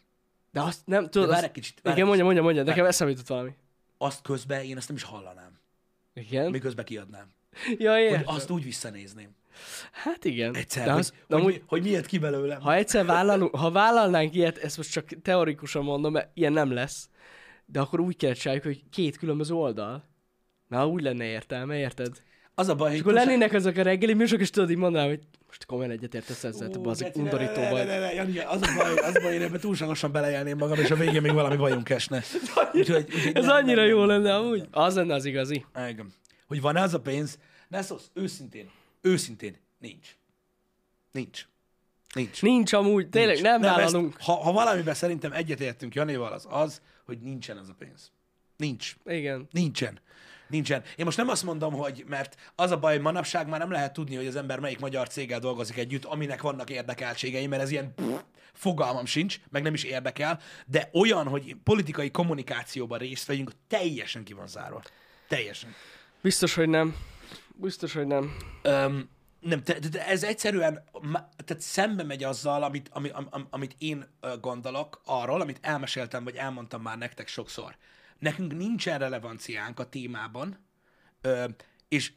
S2: De azt nem,
S1: De
S2: tudod,
S1: várj egy
S2: azt...
S1: kicsit. Várj
S2: Igen,
S1: egy
S2: mondja, mondja, mondja, nekem eszembe jutott valami.
S1: kicsit. Azt közben én ezt nem is hallanám.
S2: Igen?
S1: Miközben kiadnám.
S2: Ja,
S1: Hogy
S2: értem.
S1: azt úgy visszanézném.
S2: Hát igen.
S1: Egyszer,
S2: De
S1: hogy,
S2: az, de
S1: hogy,
S2: amúgy,
S1: mi- hogy miért ki belőlem.
S2: ha egyszer vállalunk, ha vállalnánk ilyet, ezt most csak teorikusan mondom, mert ilyen nem lesz, de akkor úgy kell csináljuk, hogy két különböző oldal. Na, úgy lenne értelme, érted?
S1: Az a baj, hogy...
S2: Akkor lennének azok a reggeli műsorok, és tudod így mondanám, hogy most komolyan egyetértesz ezzel, te
S1: Ú,
S2: bazik,
S1: geci, ne, ne,
S2: undorító
S1: ne,
S2: vagy.
S1: ne, ne, Jani, az a baj, az a baj, én ebben túlságosan belejelném magam, és a végén még valami bajunk esne. Úgyhogy, úgyhogy
S2: Ez
S1: nem,
S2: annyira
S1: nem,
S2: jó
S1: nem,
S2: lenne,
S1: nem,
S2: amúgy. Az lenne az igazi.
S1: Igen. Hogy van az a pénz? Ne szólsz, őszintén, őszintén, nincs. Nincs. Nincs.
S2: Nincs amúgy, tényleg
S1: Nincs.
S2: nem vállalunk.
S1: Ezt, ha, ha valamiben szerintem egyetértünk Janival, az az, hogy nincsen az a pénz. Nincs.
S2: Igen.
S1: Nincsen. Nincsen. Én most nem azt mondom, hogy mert az a baj, manapság már nem lehet tudni, hogy az ember melyik magyar céggel dolgozik együtt, aminek vannak érdekeltségei, mert ez ilyen pff, fogalmam sincs, meg nem is érdekel, de olyan, hogy politikai kommunikációban részt vegyünk, teljesen ki van zárva. Teljesen.
S2: Biztos, hogy nem. Biztos, hogy nem.
S1: Öm, nem, te, te, te ez egyszerűen ma- tehát szembe megy azzal, amit, ami, am, am, amit én ö, gondolok arról, amit elmeséltem, vagy elmondtam már nektek sokszor. Nekünk nincsen relevanciánk a témában, ö, és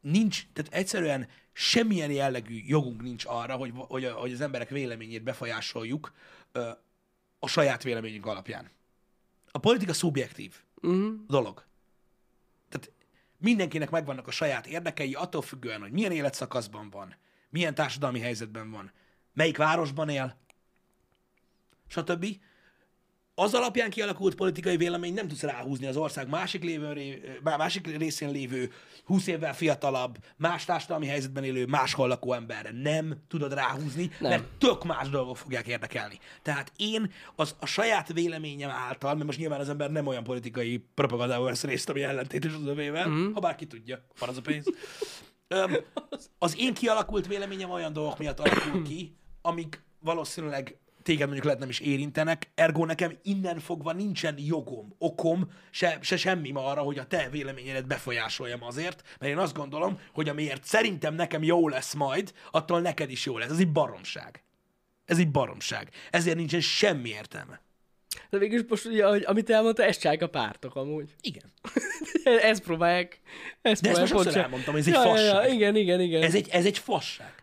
S1: nincs, tehát egyszerűen semmilyen jellegű jogunk nincs arra, hogy, hogy, hogy az emberek véleményét befolyásoljuk ö, a saját véleményünk alapján. A politika szubjektív uh-huh. dolog. Tehát mindenkinek megvannak a saját érdekei, attól függően, hogy milyen életszakaszban van, milyen társadalmi helyzetben van, melyik városban él, stb. Az alapján kialakult politikai vélemény nem tudsz ráhúzni az ország másik, lévő, ré- má- másik részén lévő, 20 évvel fiatalabb, más társadalmi helyzetben élő, máshol lakó emberre. Nem tudod ráhúzni, nem. mert tök más dolgok fogják érdekelni. Tehát én az a saját véleményem által, mert most nyilván az ember nem olyan politikai propagandában vesz részt, ami ellentétes az övével, mm. ha bárki tudja, van az a pénz. Öm, az én kialakult véleményem olyan dolgok miatt alakul ki, amik valószínűleg téged mondjuk lehet nem is érintenek, ergo nekem innen fogva nincsen jogom, okom, se, se semmi ma arra, hogy a te véleményedet befolyásoljam azért, mert én azt gondolom, hogy amiért szerintem nekem jó lesz majd, attól neked is jó lesz. Ez egy baromság. Ez egy baromság. Ezért nincsen semmi értelme.
S2: De végül is most ugye, ahogy- amit elmondta, ezt csinálják a pártok amúgy.
S1: Igen.
S2: ezt próbálják. Ezt
S1: De ezt
S2: próbálják
S1: most sokszor
S2: pont-
S1: elmondtam, hogy ez egy
S2: ja, ja, ja,
S1: fasság.
S2: igen, igen, igen.
S1: Ez egy, ez egy fasság.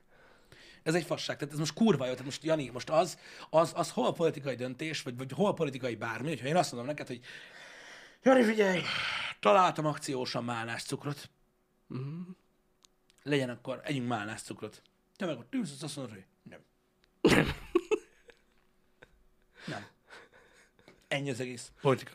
S1: Ez egy fasság. Tehát ez most kurva jó. Tehát most, Jani, most az, az, az hol a politikai döntés, vagy, vagy hol a politikai bármi, hogyha én azt mondom neked, hogy Jani, figyelj, találtam akciósan málnás cukrot. Mm. Legyen akkor, együnk málnás cukrot. Te meg ott ülsz, azt mondod, hogy nem. nem. Ennyi az egész. Politika.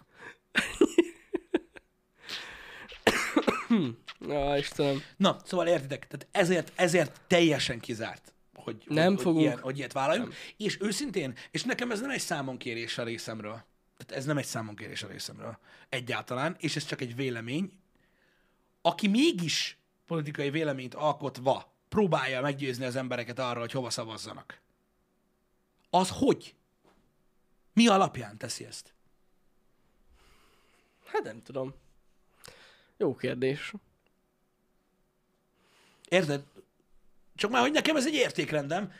S2: Ja, Istenem.
S1: Na, szóval értitek, tehát ezért, ezért teljesen kizárt, hogy,
S2: Nem
S1: hogy,
S2: fogunk.
S1: hogy, ilyen, hogy ilyet vállaljunk. Nem. És őszintén, és nekem ez nem egy számonkérés a részemről. Tehát ez nem egy számonkérés a részemről. Egyáltalán, és ez csak egy vélemény. Aki mégis politikai véleményt alkotva próbálja meggyőzni az embereket arra, hogy hova szavazzanak, az hogy? Mi alapján teszi ezt?
S2: Hát nem tudom. Jó kérdés.
S1: Érted? Csak már, hogy nekem ez egy értékrendem.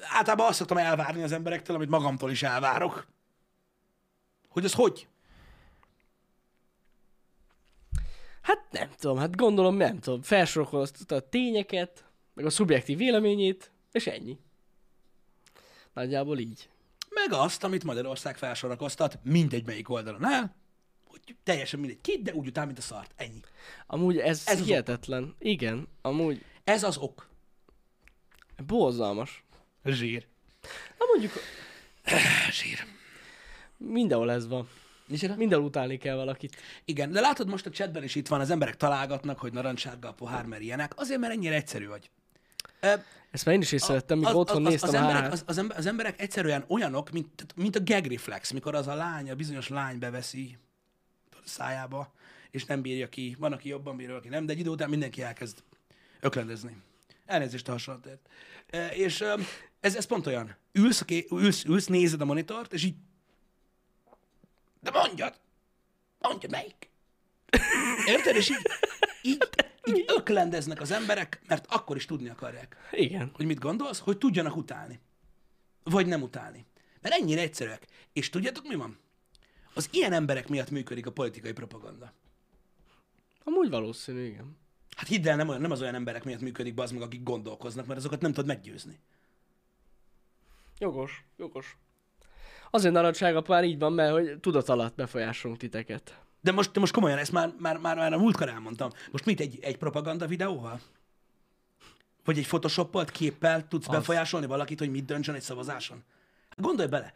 S1: Általában azt szoktam elvárni az emberektől, amit magamtól is elvárok. Hogy az hogy?
S2: Hát nem tudom, hát gondolom nem tudom. Felsorolkozta a tényeket, meg a szubjektív véleményét, és ennyi. Nagyjából így.
S1: Meg azt, amit Magyarország felsorakoztat mindegy melyik oldalon el, hogy teljesen mindegy kit, de úgy után, mint a szart. Ennyi.
S2: Amúgy ez,
S1: Ez az
S2: ez
S1: ok.
S2: hihetetlen. Igen, amúgy
S1: Ez az ok.
S2: borzalmas.
S1: Zsír.
S2: Na mondjuk
S1: Zsír.
S2: mindenhol ez van.
S1: Micsoda?
S2: Mindenhol utálni kell valakit.
S1: Igen, de látod most a chatben is itt van, az emberek találgatnak, hogy narancssárga a pohár, mert ilyenek. Azért, mert ennyire egyszerű vagy. Ö,
S2: Ezt már én is észrevettem, mikor otthon néztem
S1: az,
S2: a
S1: emberek,
S2: hárát.
S1: az, az, ember- az emberek egyszerűen olyanok, mint, tehát, mint a gag reflex, mikor az a lány, a bizonyos lány beveszi tudod, a szájába, és nem bírja ki. Van, aki jobban bírja, aki nem, de egy idő után mindenki elkezd öklendezni. Elnézést a hasonlatért. E, És öm, ez, ez pont olyan. Ülsz, a ké- ülsz, ülsz, nézed a monitort, és így... De mondjad! Mondjad, melyik? Érted? És így, így, így öklendeznek az emberek, mert akkor is tudni akarják
S2: Igen.
S1: hogy mit gondolsz, hogy tudjanak utálni. Vagy nem utálni. Mert ennyire egyszerűek. És tudjátok, mi van? Az ilyen emberek miatt működik a politikai propaganda.
S2: Amúgy valószínű, igen.
S1: Hát hidd el, nem, olyan, nem az olyan emberek miatt működik bazd meg, akik gondolkoznak, mert azokat nem tudod meggyőzni.
S2: Jogos, jogos. Azért narancsárga pár így van, mert hogy tudat alatt befolyásolunk titeket.
S1: De most, de most komolyan, ezt már, már, már, már a múltkor elmondtam. Most mit, egy, egy propaganda videóval? Vagy egy photoshopolt képpel tudsz az. befolyásolni valakit, hogy mit döntsön egy szavazáson? Hát Gondolj bele,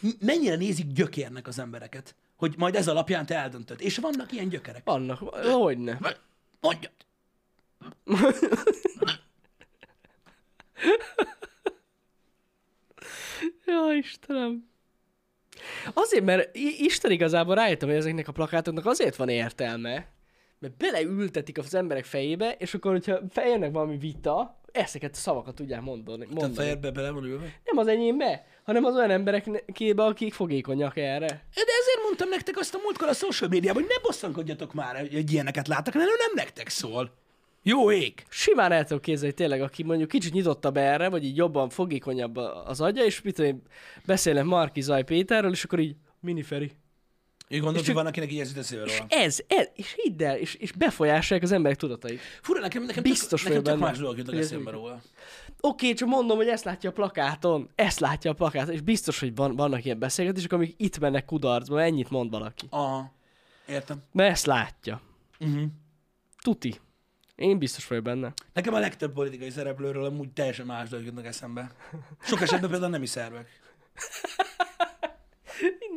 S1: m- mennyire nézik gyökérnek az embereket, hogy majd ez alapján te eldöntöd. És vannak ilyen gyökerek.
S2: Vannak, hogyne.
S1: Mondjad!
S2: Ja, Istenem. Azért, mert I- Isten igazából rájöttem, hogy ezeknek a plakátoknak azért van értelme, mert beleültetik az emberek fejébe, és akkor, hogyha feljönnek valami vita, ezeket a szavakat tudják mondani.
S1: Te
S2: mondani.
S1: fejedbe bele van ülve?
S2: Nem az enyémbe, hanem az olyan embereknébe, akik fogékonyak erre.
S1: De ezért mondtam nektek azt a múltkor a social médiában, hogy ne bosszankodjatok már, hogy ilyeneket láttak, hanem nem nektek szól. Jó ég!
S2: Simán el tudom képzelni tényleg, aki mondjuk kicsit nyitottabb erre, vagy így jobban fogékonyabb a- az agya, és mit tudom én, beszélek Marki Zaj Péterről, és akkor így miniferi.
S1: Én gondolom,
S2: És
S1: hogy
S2: csak-
S1: van, akinek így ez jut eszébe
S2: És
S1: róla.
S2: ez, ez, és hidd el, és, és befolyásolják az emberek tudatait.
S1: Fura, nekem, nekem
S2: Biztos
S1: csak, nekem
S2: vagy
S1: csak
S2: benne.
S1: más dolgok jutnak
S2: Hogy ez
S1: eszembe
S2: úgy-
S1: róla.
S2: Oké, csak mondom, hogy ezt látja a plakáton, ezt látja a plakáton, és biztos, hogy van, vannak ilyen beszélgetések, amik itt mennek kudarcba, mert ennyit mond valaki.
S1: Aha. Értem.
S2: Mert ezt látja.
S1: Uh-huh.
S2: Tuti. Én biztos vagyok benne.
S1: Nekem a legtöbb politikai szereplőről amúgy teljesen más dolgok jutnak eszembe. Sok esetben például nem is szervek.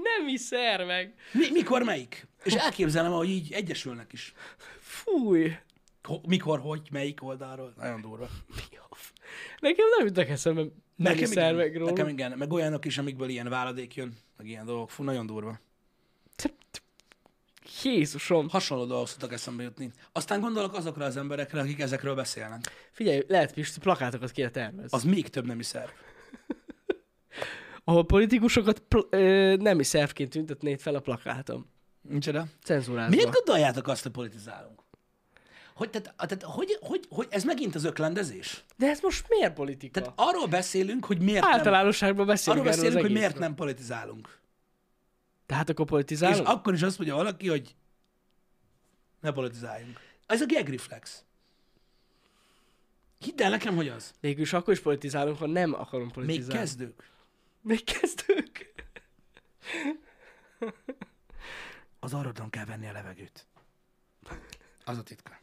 S2: Nem hiszer meg.
S1: Mi, mikor melyik? És elképzelem, hogy így egyesülnek is.
S2: Fúj.
S1: Ho- Mikor, hogy, melyik oldalról. Nagyon durva.
S2: Mi a f- Nekem nem jutnak eszembe nem
S1: Nekem
S2: hiszer meg
S1: igen,
S2: róla.
S1: nekem igen, meg olyanok is, amikből ilyen váladék jön, meg ilyen dolgok. Fú, nagyon durva.
S2: Te- te- Jézusom.
S1: Hasonló dolgok szoktak eszembe jutni. Aztán gondolok azokra az emberekre, akik ezekről beszélnek.
S2: Figyelj, lehet Pisti, plakátokat kéne tervezni.
S1: Az még több nem is szerv.
S2: Ahol politikusokat pl- ö, nemi szervként tüntetnéd fel a plakátom.
S1: Micsoda?
S2: Cenzúrázva.
S1: Miért gondoljátok azt, hogy politizálunk? Hogy, tehát, tehát hogy, hogy, hogy, ez megint az öklendezés?
S2: De ez most miért politika? Hát
S1: Tehát arról beszélünk, hogy miért nem,
S2: Általánosságban beszélünk
S1: arról
S2: erről
S1: beszélünk,
S2: az
S1: hogy miért
S2: egészről.
S1: nem politizálunk.
S2: Tehát akkor
S1: És
S2: politizálunk?
S1: akkor is azt mondja valaki, hogy ne politizáljunk. Ez a gag reflex. Hidd el nekem, hogy az.
S2: Végülis akkor is politizálunk, ha nem akarunk
S1: Még
S2: politizálni.
S1: kezdők.
S2: Még kezdők.
S1: Az arrodon kell venni a levegőt. Az a titka.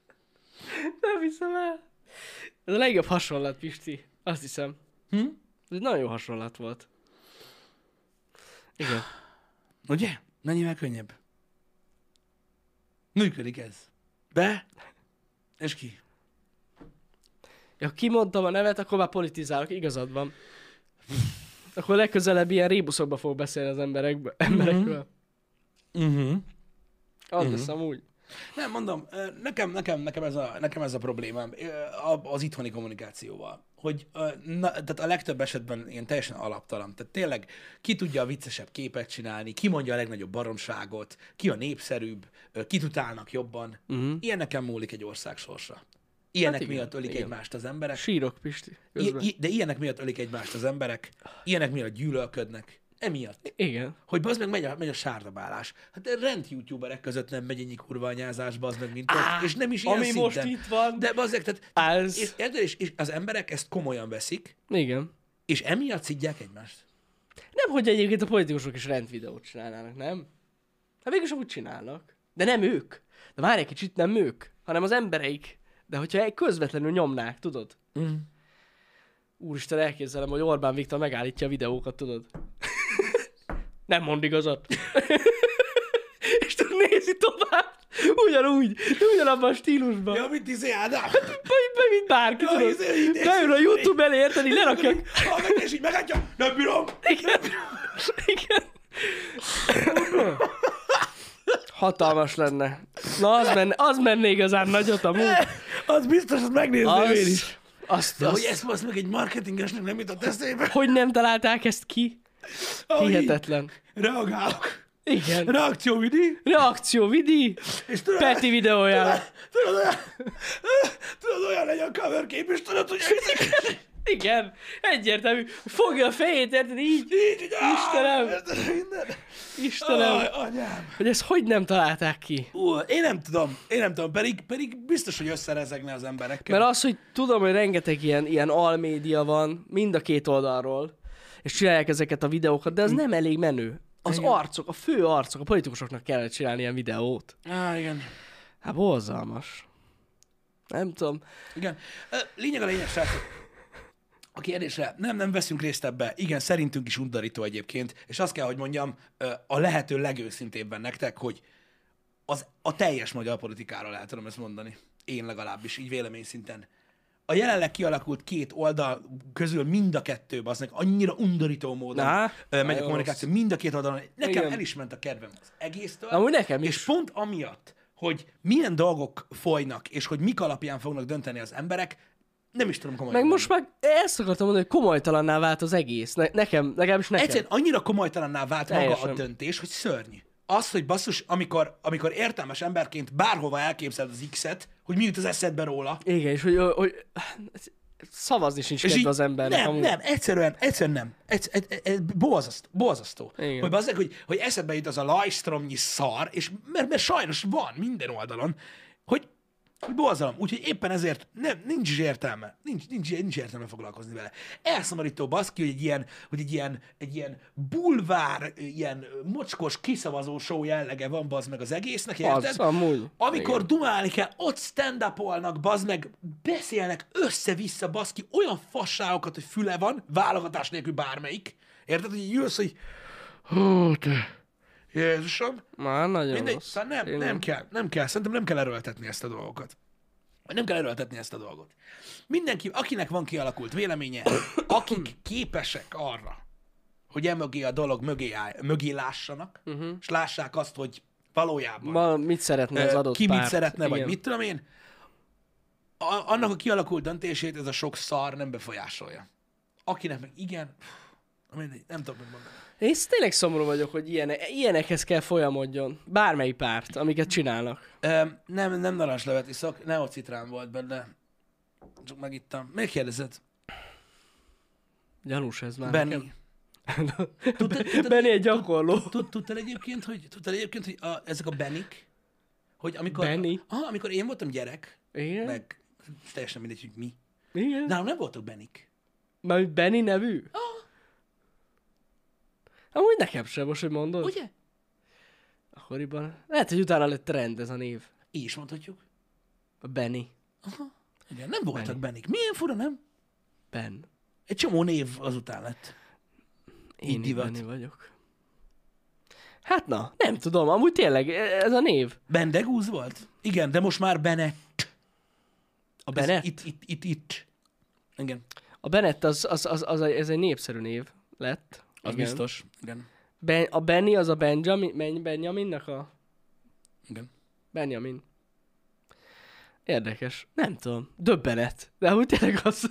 S2: Nem hiszem el. Ez a legjobb hasonlat, Pisti. Azt hiszem.
S1: Hm?
S2: Ez egy nagyon jó hasonlat volt. Igen.
S1: Ugye? Mennyivel könnyebb. Működik ez. Be, és ki.
S2: Ja, kimondtam a nevet, akkor már politizálok, igazad van. Akkor legközelebb ilyen rébuszokba fog beszélni az emberekbe, emberekről.
S1: Uh-huh.
S2: Az lesz amúgy.
S1: Nem, mondom, ö, nekem, nekem, nekem, ez, a, nekem ez a problémám ö, a- az itthoni kommunikációval. Hogy ö, na, tehát a legtöbb esetben ilyen teljesen alaptalan. Tehát tényleg ki tudja a viccesebb képet csinálni, ki mondja a legnagyobb baromságot, ki a népszerűbb, ö, kit utálnak jobban. Uh-huh. Ilyeneken múlik egy ország sorsa. Ilyenek hát
S2: igen,
S1: igen, miatt ölik igen.
S2: igen.
S1: egymást az emberek.
S2: Sírok, Pisti.
S1: I-
S2: Közben.
S1: i- de ilyenek miatt ölik egymást az emberek, ilyenek miatt gyűlölködnek. Emiatt.
S2: Igen.
S1: Hogy az meg megy a, megy a sárdabálás. Hát rend youtuberek között nem megy ennyi kurva anyázásba, az meg mint ott, és nem is ilyen
S2: ami
S1: szinten.
S2: most itt van.
S1: De bazdmeg, tehát,
S2: Az.
S1: és, érted? és, és, az emberek ezt komolyan veszik,
S2: Igen.
S1: és emiatt szidják egymást.
S2: Nem, hogy egyébként a politikusok is rendvideót csinálnának, nem? Hát végülis amúgy csinálnak. De nem ők. De várj egy kicsit, nem ők, hanem az embereik. De hogyha egy közvetlenül nyomnák, tudod?
S1: Mm.
S2: Úristen, elképzelem, hogy Orbán Viktor megállítja a videókat, tudod? nem mond igazat. És tudod, nézi tovább. Ugyanúgy, de ugyanabban a stílusban. Ja.
S1: Ja, mint izé, Ádám.
S2: Mint bárki,
S1: Ja,
S2: tudod?
S1: izé, így-
S2: Beül a Youtube elé, érted? Így lerakja a
S1: Hallgat, és így megadja. Nem bírom.
S2: Igen. Igen. Hatalmas lenne. Na, az menne, az menne igazán nagyot amúgy.
S1: Az biztos, azt megnézném én is.
S2: Az, azt,
S1: De hogy
S2: azt,
S1: ezt most meg egy marketingesnek nem jutott eszébe.
S2: hogy nem találták ezt ki?
S1: ahogy így
S2: Hihetetlen.
S1: Reagálok.
S2: Igen.
S1: Reakcióvidi.
S2: Reakció Vidi,
S1: És tudod,
S2: Peti videójára.
S1: Tudod, olyan, tudod, olyan legyen a cover kép, és tudod, hogy
S2: Igen, egyértelmű. Fogja a fejét, érted? Így,
S1: így, így, áh,
S2: Istenem!
S1: érted, minden.
S2: Istenem,
S1: Aj, anyám.
S2: hogy ezt hogy nem találták ki?
S1: Ú, én nem tudom, én nem tudom, pedig, pedig biztos, hogy összerezegne az emberekkel.
S2: Mert az, hogy tudom, hogy rengeteg ilyen, ilyen almédia van, mind a két oldalról, és csinálják ezeket a videókat, de az nem elég menő. Az
S1: Igen.
S2: arcok, a fő arcok, a politikusoknak kellett csinálni ilyen videót.
S1: Á, igen.
S2: Hát borzalmas. Nem tudom.
S1: Igen. Ö, Lényeg a lényeg, srácok. A kérdésre, nem, nem veszünk részt ebbe. Igen, szerintünk is undorító egyébként, és azt kell, hogy mondjam, ö, a lehető legőszintébben nektek, hogy az, a teljes magyar politikáról el tudom ezt mondani. Én legalábbis, így vélemény szinten. A jelenleg kialakult két oldal közül mind a kettő, aznak annyira undorító módon
S2: Na,
S1: ö, megy a
S2: nagyon
S1: kommunikáció, mind a két oldalon. Nekem
S2: Igen.
S1: el is ment a kedvem az egésztől.
S2: Amúgy nekem
S1: És
S2: is.
S1: pont amiatt, hogy milyen dolgok folynak, és hogy mik alapján fognak dönteni az emberek, nem is tudom komolyan.
S2: Meg
S1: mondani.
S2: most már ezt akartam mondani, hogy komolytalanná vált az egész. Ne- nekem, legalábbis nekem.
S1: Egyszerűen annyira komolytalanná vált maga a
S2: Teljesen.
S1: döntés, hogy szörnyű. Az, hogy basszus, amikor, amikor értelmes emberként bárhova elképzeled az X-et, hogy mi jut az eszedbe róla,
S2: Igen, és hogy, hogy szavazni sincs
S1: és
S2: kedve
S1: így-
S2: az embernek.
S1: Nem,
S2: amúgy.
S1: nem, egyszerűen, egyszerűen nem. Egy, egy, egy, egy, borzasztó, borzasztó.
S2: Igen.
S1: Hogy, bazzeg, hogy, hogy eszedbe jut az a lajstromnyi szar, és mert, mert sajnos van minden oldalon, hogy, hogy borzalom. Úgyhogy éppen ezért nem, nincs is értelme. Nincs, nincs, nincs értelme foglalkozni vele. Elszomorító baszki, hogy egy ilyen, hogy egy ilyen, egy ilyen bulvár, ilyen mocskos, kiszavazó show jellege van bazd meg az egésznek, érted?
S2: amúgy.
S1: Amikor Igen. dumálni kell, ott stand up bazd meg, beszélnek össze-vissza, bazd ki, olyan fasságokat, hogy füle van, válogatás nélkül bármelyik. Érted, hogy így jössz, hogy hú, te, Jézusom,
S2: Már nagyon
S1: mindegy,
S2: rossz.
S1: szóval nem,
S2: Tényleg.
S1: nem kell, nem kell, szerintem nem kell erőltetni ezt a dolgokat. Vagy Nem kell erőltetni ezt a dolgot. Mindenki, akinek van kialakult véleménye, akik képesek arra, hogy emögé a dolog mögé, áll, mögé lássanak,
S2: Mhm.
S1: uh-huh. és lássák azt, hogy valójában
S2: Ma mit szeretne az
S1: Ö,
S2: adott
S1: ki
S2: párt?
S1: mit szeretne, vagy
S2: Igen.
S1: mit tudom én. A, annak a kialakult döntését ez a sok szar nem befolyásolja. Akinek meg igen, pff, mindegy, nem tudom, mit mondani.
S2: Én sz- tényleg szomorú vagyok, hogy ilyen, ilyenekhez kell folyamodjon. Bármely párt, amiket csinálnak.
S1: Öm, nem, nem narancslevet iszok, neocitrán volt benne. Csak megittam. Miért kérdezed?
S2: Gyanús ez már.
S1: Benny. Tudtad, tudtad,
S2: Benny egy gyakorló.
S1: tud- tudtad egyébként, hogy, tudtad egyébként, hogy a, ezek a Benik, hogy amikor,
S2: Benny?
S1: Aha, amikor én voltam gyerek,
S2: Igen?
S1: meg teljesen mindegy, hogy mi.
S2: Igen?
S1: Nálam nem voltak Benik.
S2: Mert Benny nevű?
S1: Ah,
S2: Amúgy nekem sem, most hogy mondod.
S1: ugye?
S2: Akkoriban. Lehet, hogy utána lett trend ez a név.
S1: Így is mondhatjuk.
S2: A Benny.
S1: Aha. Igen, nem voltak Benny. Benik. Milyen fura, nem?
S2: Ben.
S1: Egy csomó név azután lett. Így
S2: Én itt
S1: divat.
S2: Benny vagyok. Hát na, nem tudom, amúgy tényleg e- ez a név.
S1: Bendegúz volt? Igen, de most már Bene.
S2: A Bennett?
S1: Itt, itt, itt, itt. Igen.
S2: A Bennett az, az, az, az, egy- ez egy népszerű név lett.
S1: Az
S2: Igen.
S1: biztos. Igen.
S2: Ben, a Benny az a Benjamin, Ben- Benjaminnak a...
S1: Igen.
S2: Benjamin. Érdekes. Nem tudom. Döbbenet. De úgy tényleg az...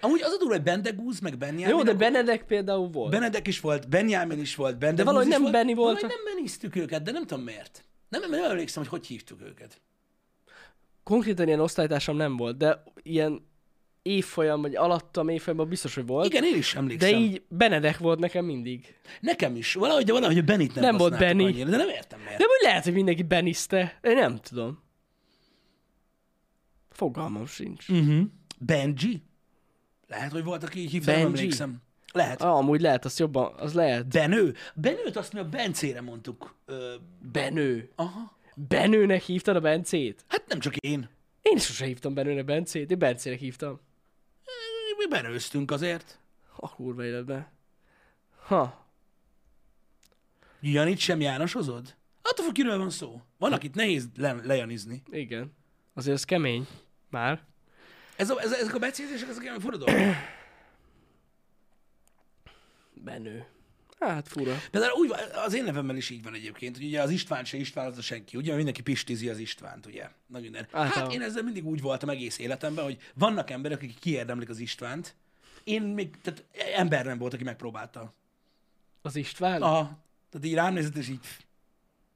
S1: Amúgy az a durva, hogy Bendegúz, meg Benjamin.
S2: Jó, de Benedek például volt. Ben...
S1: Benedek is volt, Benjamin is volt, Bendegúz
S2: De valahogy
S1: is
S2: nem
S1: volt.
S2: Benny volt.
S1: Valahogy nem Beniztük őket, de nem tudom miért. Nem, nem emlékszem, hogy hogy hívtuk őket.
S2: Konkrétan ilyen osztálytársam nem volt, de ilyen évfolyam, vagy alattam évfolyamban biztos, hogy volt.
S1: Igen, én is
S2: de
S1: emlékszem.
S2: így Benedek volt nekem mindig.
S1: Nekem is. Valahogy, de valahogy a Benit nem,
S2: Nem volt
S1: használtuk
S2: Benny.
S1: Annyira, de nem értem miért.
S2: De úgy lehet, hogy mindenki Benizte. Én nem tudom. Fogalmam sincs.
S1: Uh-huh. Benji? Lehet, hogy volt, aki így hívta, nem
S2: Benji?
S1: emlékszem. Lehet.
S2: Ah, amúgy lehet, az jobban, az lehet.
S1: Benő? Benőt azt mi a Bencére mondtuk. Ö,
S2: Benő.
S1: aha.
S2: Benőnek hívtad a Bencét?
S1: Hát nem csak én.
S2: Én sose hívtam Benőnek Bencét, én Bencének hívtam.
S1: Mi benőztünk azért.
S2: A kurva életben. Ha.
S1: Janit sem Jánosozod? Attól függ, kiről van szó. Van, akit nehéz le- lejanizni.
S2: Igen. Azért ez kemény. Már.
S1: Ez a, ez, ezek a becézések, ezek ilyen fura dolgok.
S2: Benő. Hát fura.
S1: Például úgy, van- az én nevemmel is így van egyébként, hogy ugye az István se István, az a senki. Ugye mindenki pistizi az Istvánt, ugye? Na minden. Hát
S2: Általában.
S1: én ezzel mindig úgy voltam egész életemben, hogy vannak emberek, akik kiérdemlik az Istvánt. Én még, tehát ember nem volt, aki megpróbálta.
S2: Az István?
S1: Aha. Tehát így rám nézett, és így...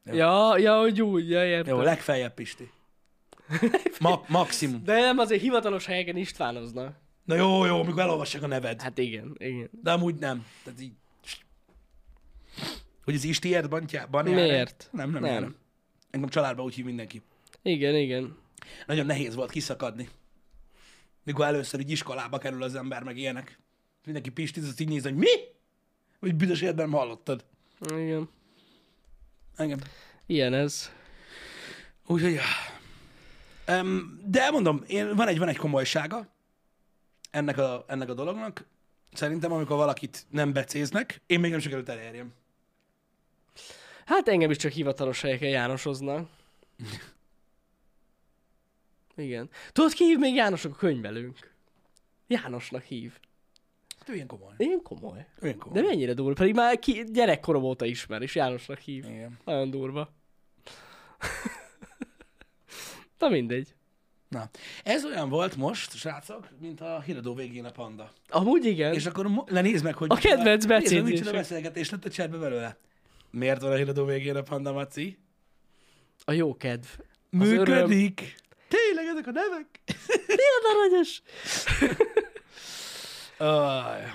S2: Ja, ja, hogy úgy, ja, értem.
S1: Jó, legfeljebb Pisti. Ma- maximum.
S2: De nem, azért hivatalos helyeken Istvánoznak.
S1: Na jó, jó, mikor elolvassák a neved.
S2: Hát igen, igen.
S1: De amúgy nem. Tehát így... Hogy az Istiért bantjában
S2: Miért?
S1: Nem, nem, nem.
S2: Nem.
S1: nem. Engem családban úgy hív mindenki.
S2: Igen, igen.
S1: Nagyon nehéz volt kiszakadni. Mikor először így iskolába kerül az ember, meg ilyenek. Mindenki pistizott, így néz, hogy mi? Hogy büdös életben nem hallottad.
S2: Igen.
S1: Engem.
S2: Ilyen ez.
S1: Úgyhogy... Um, de mondom, én, van, egy, van egy komolysága ennek a, ennek a dolognak. Szerintem, amikor valakit nem becéznek, én még nem sikerült elérjem.
S2: Hát engem is csak hivatalos helyeken Jánosoznak. Igen. Tudod, ki hív még Jánosok a könyvelőnk? Jánosnak hív.
S1: Hát ő ilyen komoly.
S2: Én komoly.
S1: Ő ilyen komoly.
S2: De mennyire durva, pedig már ki gyerekkorom óta ismer, és Jánosnak hív.
S1: Igen.
S2: Nagyon durva. Na mindegy.
S1: Na, ez olyan volt most, srácok, mint a híradó végén a panda.
S2: Amúgy igen.
S1: És akkor mo- le nézd meg, hogy...
S2: A kedvenc
S1: nézd meg,
S2: beszédések.
S1: Micsoda beszélgetés lett a cserbe belőle. Miért van a híradó végén a panda, Maci?
S2: A jó kedv. Az öröm.
S1: Működik. Tényleg ezek a nevek?
S2: Milyen aranyos!
S1: Aj.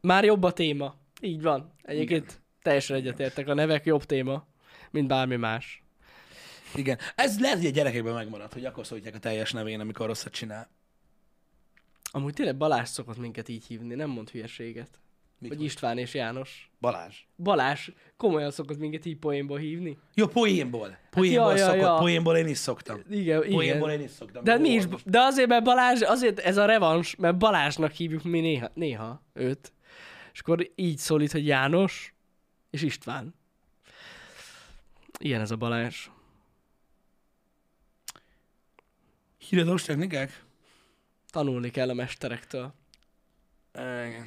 S2: Már jobb a téma. Így van. Egyébként teljesen egyetértek. A nevek jobb téma, mint bármi más.
S1: Igen. Ez lehet, hogy a gyerekekben megmaradt, hogy akkor szólítják a teljes nevén, amikor rosszat csinál.
S2: Amúgy tényleg Balázs szokott minket így hívni, nem mond hülyeséget.
S1: Mikor?
S2: Vagy István és János.
S1: Balázs.
S2: Balázs komolyan szokott minket így poénba hívni.
S1: Jó, poénból. Poénból
S2: ja,
S1: hát,
S2: ja,
S1: szokott,
S2: ja.
S1: poénból én is szoktam.
S2: Igen,
S1: Poénból
S2: igen.
S1: én is szoktam.
S2: De
S1: Jó,
S2: mi is,
S1: most.
S2: de azért, mert Balázs, azért ez a revans, mert Balázsnak hívjuk mi néha, néha őt. És akkor így szólít, hogy János és István. Ilyen ez a Balázs.
S1: Híradós technikák?
S2: Tanulni kell a mesterektől.
S1: Igen.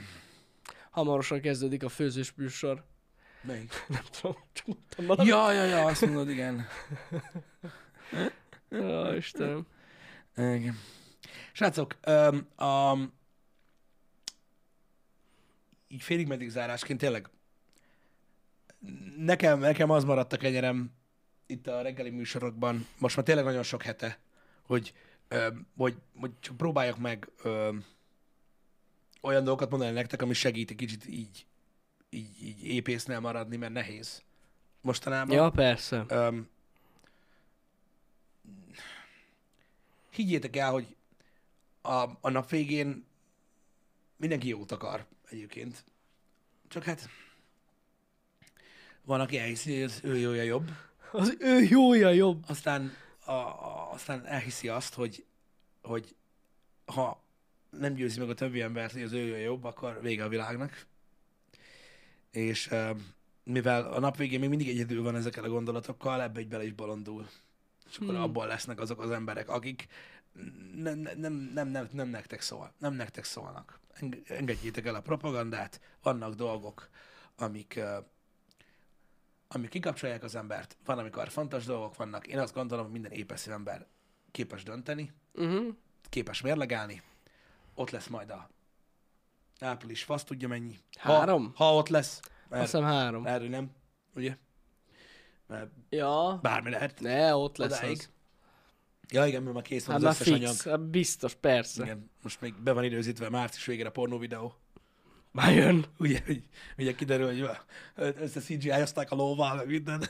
S2: Hamarosan kezdődik a főzős műsor.
S1: Melyik?
S2: Nem tudom, csak mondtam valamit.
S1: Ja, ja, ja, azt mondod, igen.
S2: Ja, Istenem.
S1: Igen. Srácok, öm, a... így félig meddig zárásként tényleg nekem, nekem az maradt a kenyerem itt a reggeli műsorokban, most már tényleg nagyon sok hete, hogy, öm, hogy, hogy csak próbáljak meg öm, olyan dolgokat mondani nektek, ami segít egy kicsit így, így, így épésznél maradni, mert nehéz mostanában.
S2: Ja, persze.
S1: Öm, higgyétek el, hogy a, a nap végén mindenki jót akar egyébként. Csak hát van, aki elhiszi, hogy az ő jója jobb,
S2: Az ő jója jobb.
S1: aztán, a, a, aztán elhiszi azt, hogy, hogy ha nem győzi meg a többi embert, hogy az ő jója jobb, akkor vége a világnak. És öm, mivel a nap végén még mindig egyedül van ezekkel a gondolatokkal, ebbe egy bele is bolondul. És akkor abban lesznek azok az emberek, akik nem, nem, nem, nem, nem nektek szól, nem nektek szólnak. Eng- Engedjétek el a propagandát, vannak dolgok, amik, ö, amik kikapcsolják az embert, van, amikor fontos dolgok vannak. Én azt gondolom, hogy minden épeszű ember képes dönteni,
S2: Uh-huh.
S1: képes mérlegelni. Ott lesz majd a április, fasz tudja mennyi.
S2: Három?
S1: Ha, ha ott lesz. Mert
S2: Azt hiszem három.
S1: erről nem, ugye? Mert
S2: Ja.
S1: bármi lehet.
S2: Ne, ott lesz
S1: Odáig.
S2: az.
S1: Ja, igen, mert már kész van
S2: Hát
S1: az
S2: már
S1: összes anyag.
S2: fix. Hát biztos, persze.
S1: Igen, most még be van időzítve március végére a pornó videó.
S2: Már jön.
S1: Ugye, hogy- ugye kiderül, hogy ö- össze CGI-ozták a lóvá, meg minden.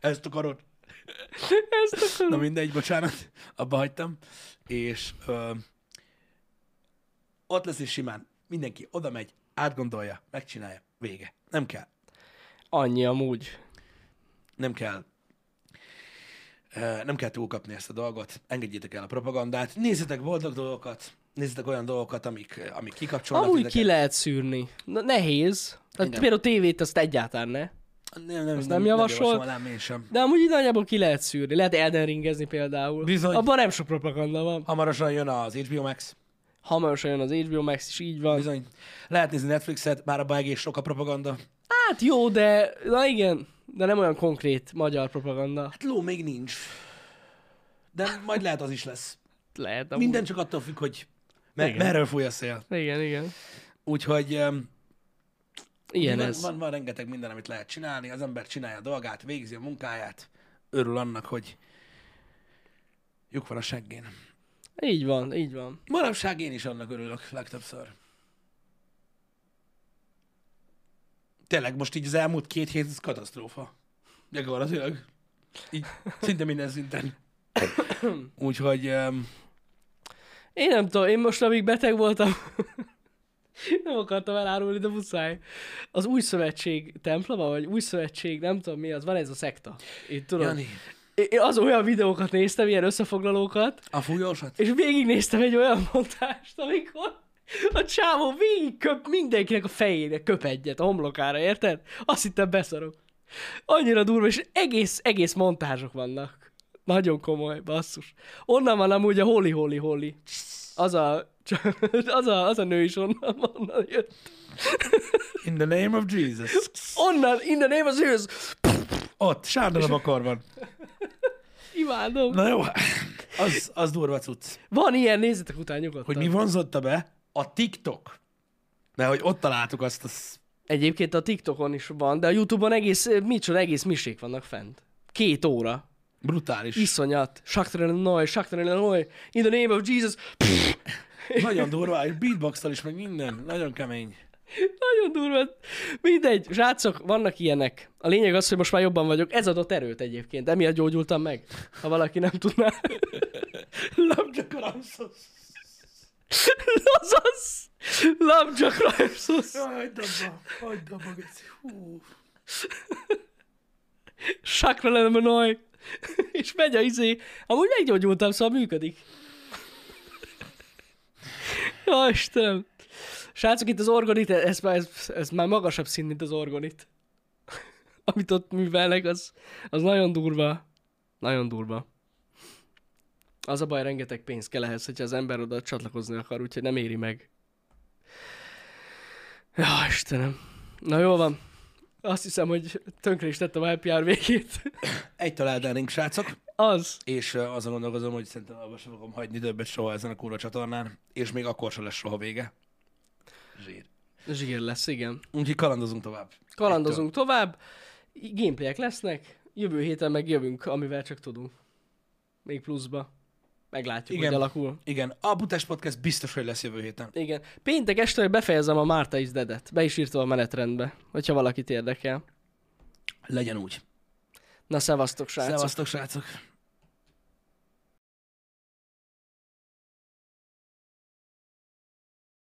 S1: Ezt akarod?
S2: Ezt
S1: Na
S2: akarom.
S1: mindegy, bocsánat, abba hagytam. És ö, ott lesz is simán. Mindenki oda megy, átgondolja, megcsinálja, vége. Nem kell.
S2: Annyi amúgy.
S1: nem kell ö, nem kell túlkapni ezt a dolgot, engedjétek el a propagandát, nézzetek boldog dolgokat, nézzetek olyan dolgokat, amik, amik kikapcsolnak.
S2: Amúgy
S1: titeket.
S2: ki lehet szűrni. Na, nehéz. Tehát
S1: Igen.
S2: például tévét azt egyáltalán ne.
S1: Nem, nem,
S2: Azt nem javasol?
S1: Nem javasolnám én sem.
S2: De amúgy így nagyjából ki lehet szűrni. Lehet Elden ringezni például.
S1: Bizony.
S2: Abban nem sok propaganda van.
S1: Hamarosan jön az HBO Max.
S2: Hamarosan jön az HBO Max, és így van.
S1: Bizony. Lehet nézni Netflixet, már abban egész sok a propaganda.
S2: Hát jó, de... Na igen. De nem olyan konkrét magyar propaganda.
S1: Hát ló még nincs. De majd lehet az is lesz.
S2: Hát Lehet amúgy.
S1: Minden csak attól függ, hogy me-
S2: Igen.
S1: merről fúj a szél.
S2: Igen, igen.
S1: Úgyhogy öm,
S2: Ilyen
S1: van,
S2: ez.
S1: Van, van rengeteg minden, amit lehet csinálni, az ember csinálja a dolgát, végzi a munkáját, örül annak, hogy lyuk van a seggén.
S2: Így van, így van.
S1: Manapság én is annak örülök legtöbbször. Tényleg, most így az elmúlt két hét, ez katasztrófa. Gyakorlatilag. Így szinte minden szinten. Úgyhogy um,
S2: Én nem tudom, én most amíg beteg voltam, nem akartam elárulni, de muszáj. Az új szövetség temploma, vagy új szövetség, nem tudom mi az, van ez a szekta. Itt tudod.
S1: Jani,
S2: Én én az olyan videókat néztem, ilyen összefoglalókat,
S1: a fújósat?
S2: és végignéztem egy olyan mondást, amikor a csávó végigköp mindenkinek a fejére, köp egyet a homlokára, érted? Azt hittem beszarok. Annyira durva, és egész, egész montázsok vannak. Nagyon komoly, basszus. Onnan van amúgy a Holy Holy Holy. Az a, az a, az a nő is onnan, onnan jött.
S1: In the name of Jesus.
S2: Onnan, in the name of Jesus.
S1: Ott, sárdalom a karban.
S2: Imádom.
S1: Na jó, az, az durva cucc.
S2: Van ilyen, nézzetek után nyugodtan.
S1: Hogy mi vonzotta be? A TikTok. De hogy ott találtuk azt, az...
S2: Egyébként a TikTokon is van, de a Youtube-on egész, eh, micsoda, egész misék vannak fent. Két óra.
S1: Brutális.
S2: Iszonyat. Shakhtar Noy, Shakhtar Noy, in the name of Jesus. Pff,
S1: Nagyon durva, és beatbox is, meg minden. Nagyon kemény.
S2: Nagyon durva. Mindegy, srácok, vannak ilyenek. A lényeg az, hogy most már jobban vagyok. Ez adott erőt egyébként, emiatt gyógyultam meg. Ha valaki nem tudná.
S1: Labda karamszos.
S2: Lazasz! Labja Crimson!
S1: Hagyd abba, hagyd abba, geci. Hú.
S2: Sakra Lemonoi. És megy a izé. Amúgy meggyógyultam, szóval működik. Jaj, Istenem. Srácok, itt az orgonit, ez, már- ez, ez már magasabb szín, mint az orgonit. Amit ott művelnek, az, az nagyon durva. Nagyon durva. Az a baj, rengeteg pénz kell ehhez, hogyha az ember oda csatlakozni akar, úgyhogy nem éri meg. Ja, Istenem. Na jó van. Azt hiszem, hogy tönkre is tettem a happy hour végét.
S1: Egy találdánénk, srácok,
S2: Az.
S1: és ö, azon gondolkozom, hogy szerintem abba sem fogom hagyni többet soha ezen a kurva csatornán, és még akkor sem lesz soha vége. Zsír.
S2: Zsír lesz, igen.
S1: Úgyhogy kalandozunk tovább.
S2: Kalandozunk tovább, gameplayek lesznek, jövő héten meg jövünk, amivel csak tudunk. Még pluszba. Meglátjuk,
S1: Igen.
S2: hogy alakul.
S1: Ettől. Igen, a Butás Podcast biztos, hogy lesz jövő héten.
S2: Igen. Péntek este befejezem a Márta is dedet. Be is írtam a menetrendbe, hogyha valakit érdekel.
S1: Legyen úgy.
S2: Na, szevasztok, srácok.
S1: Szevasztok, srácok.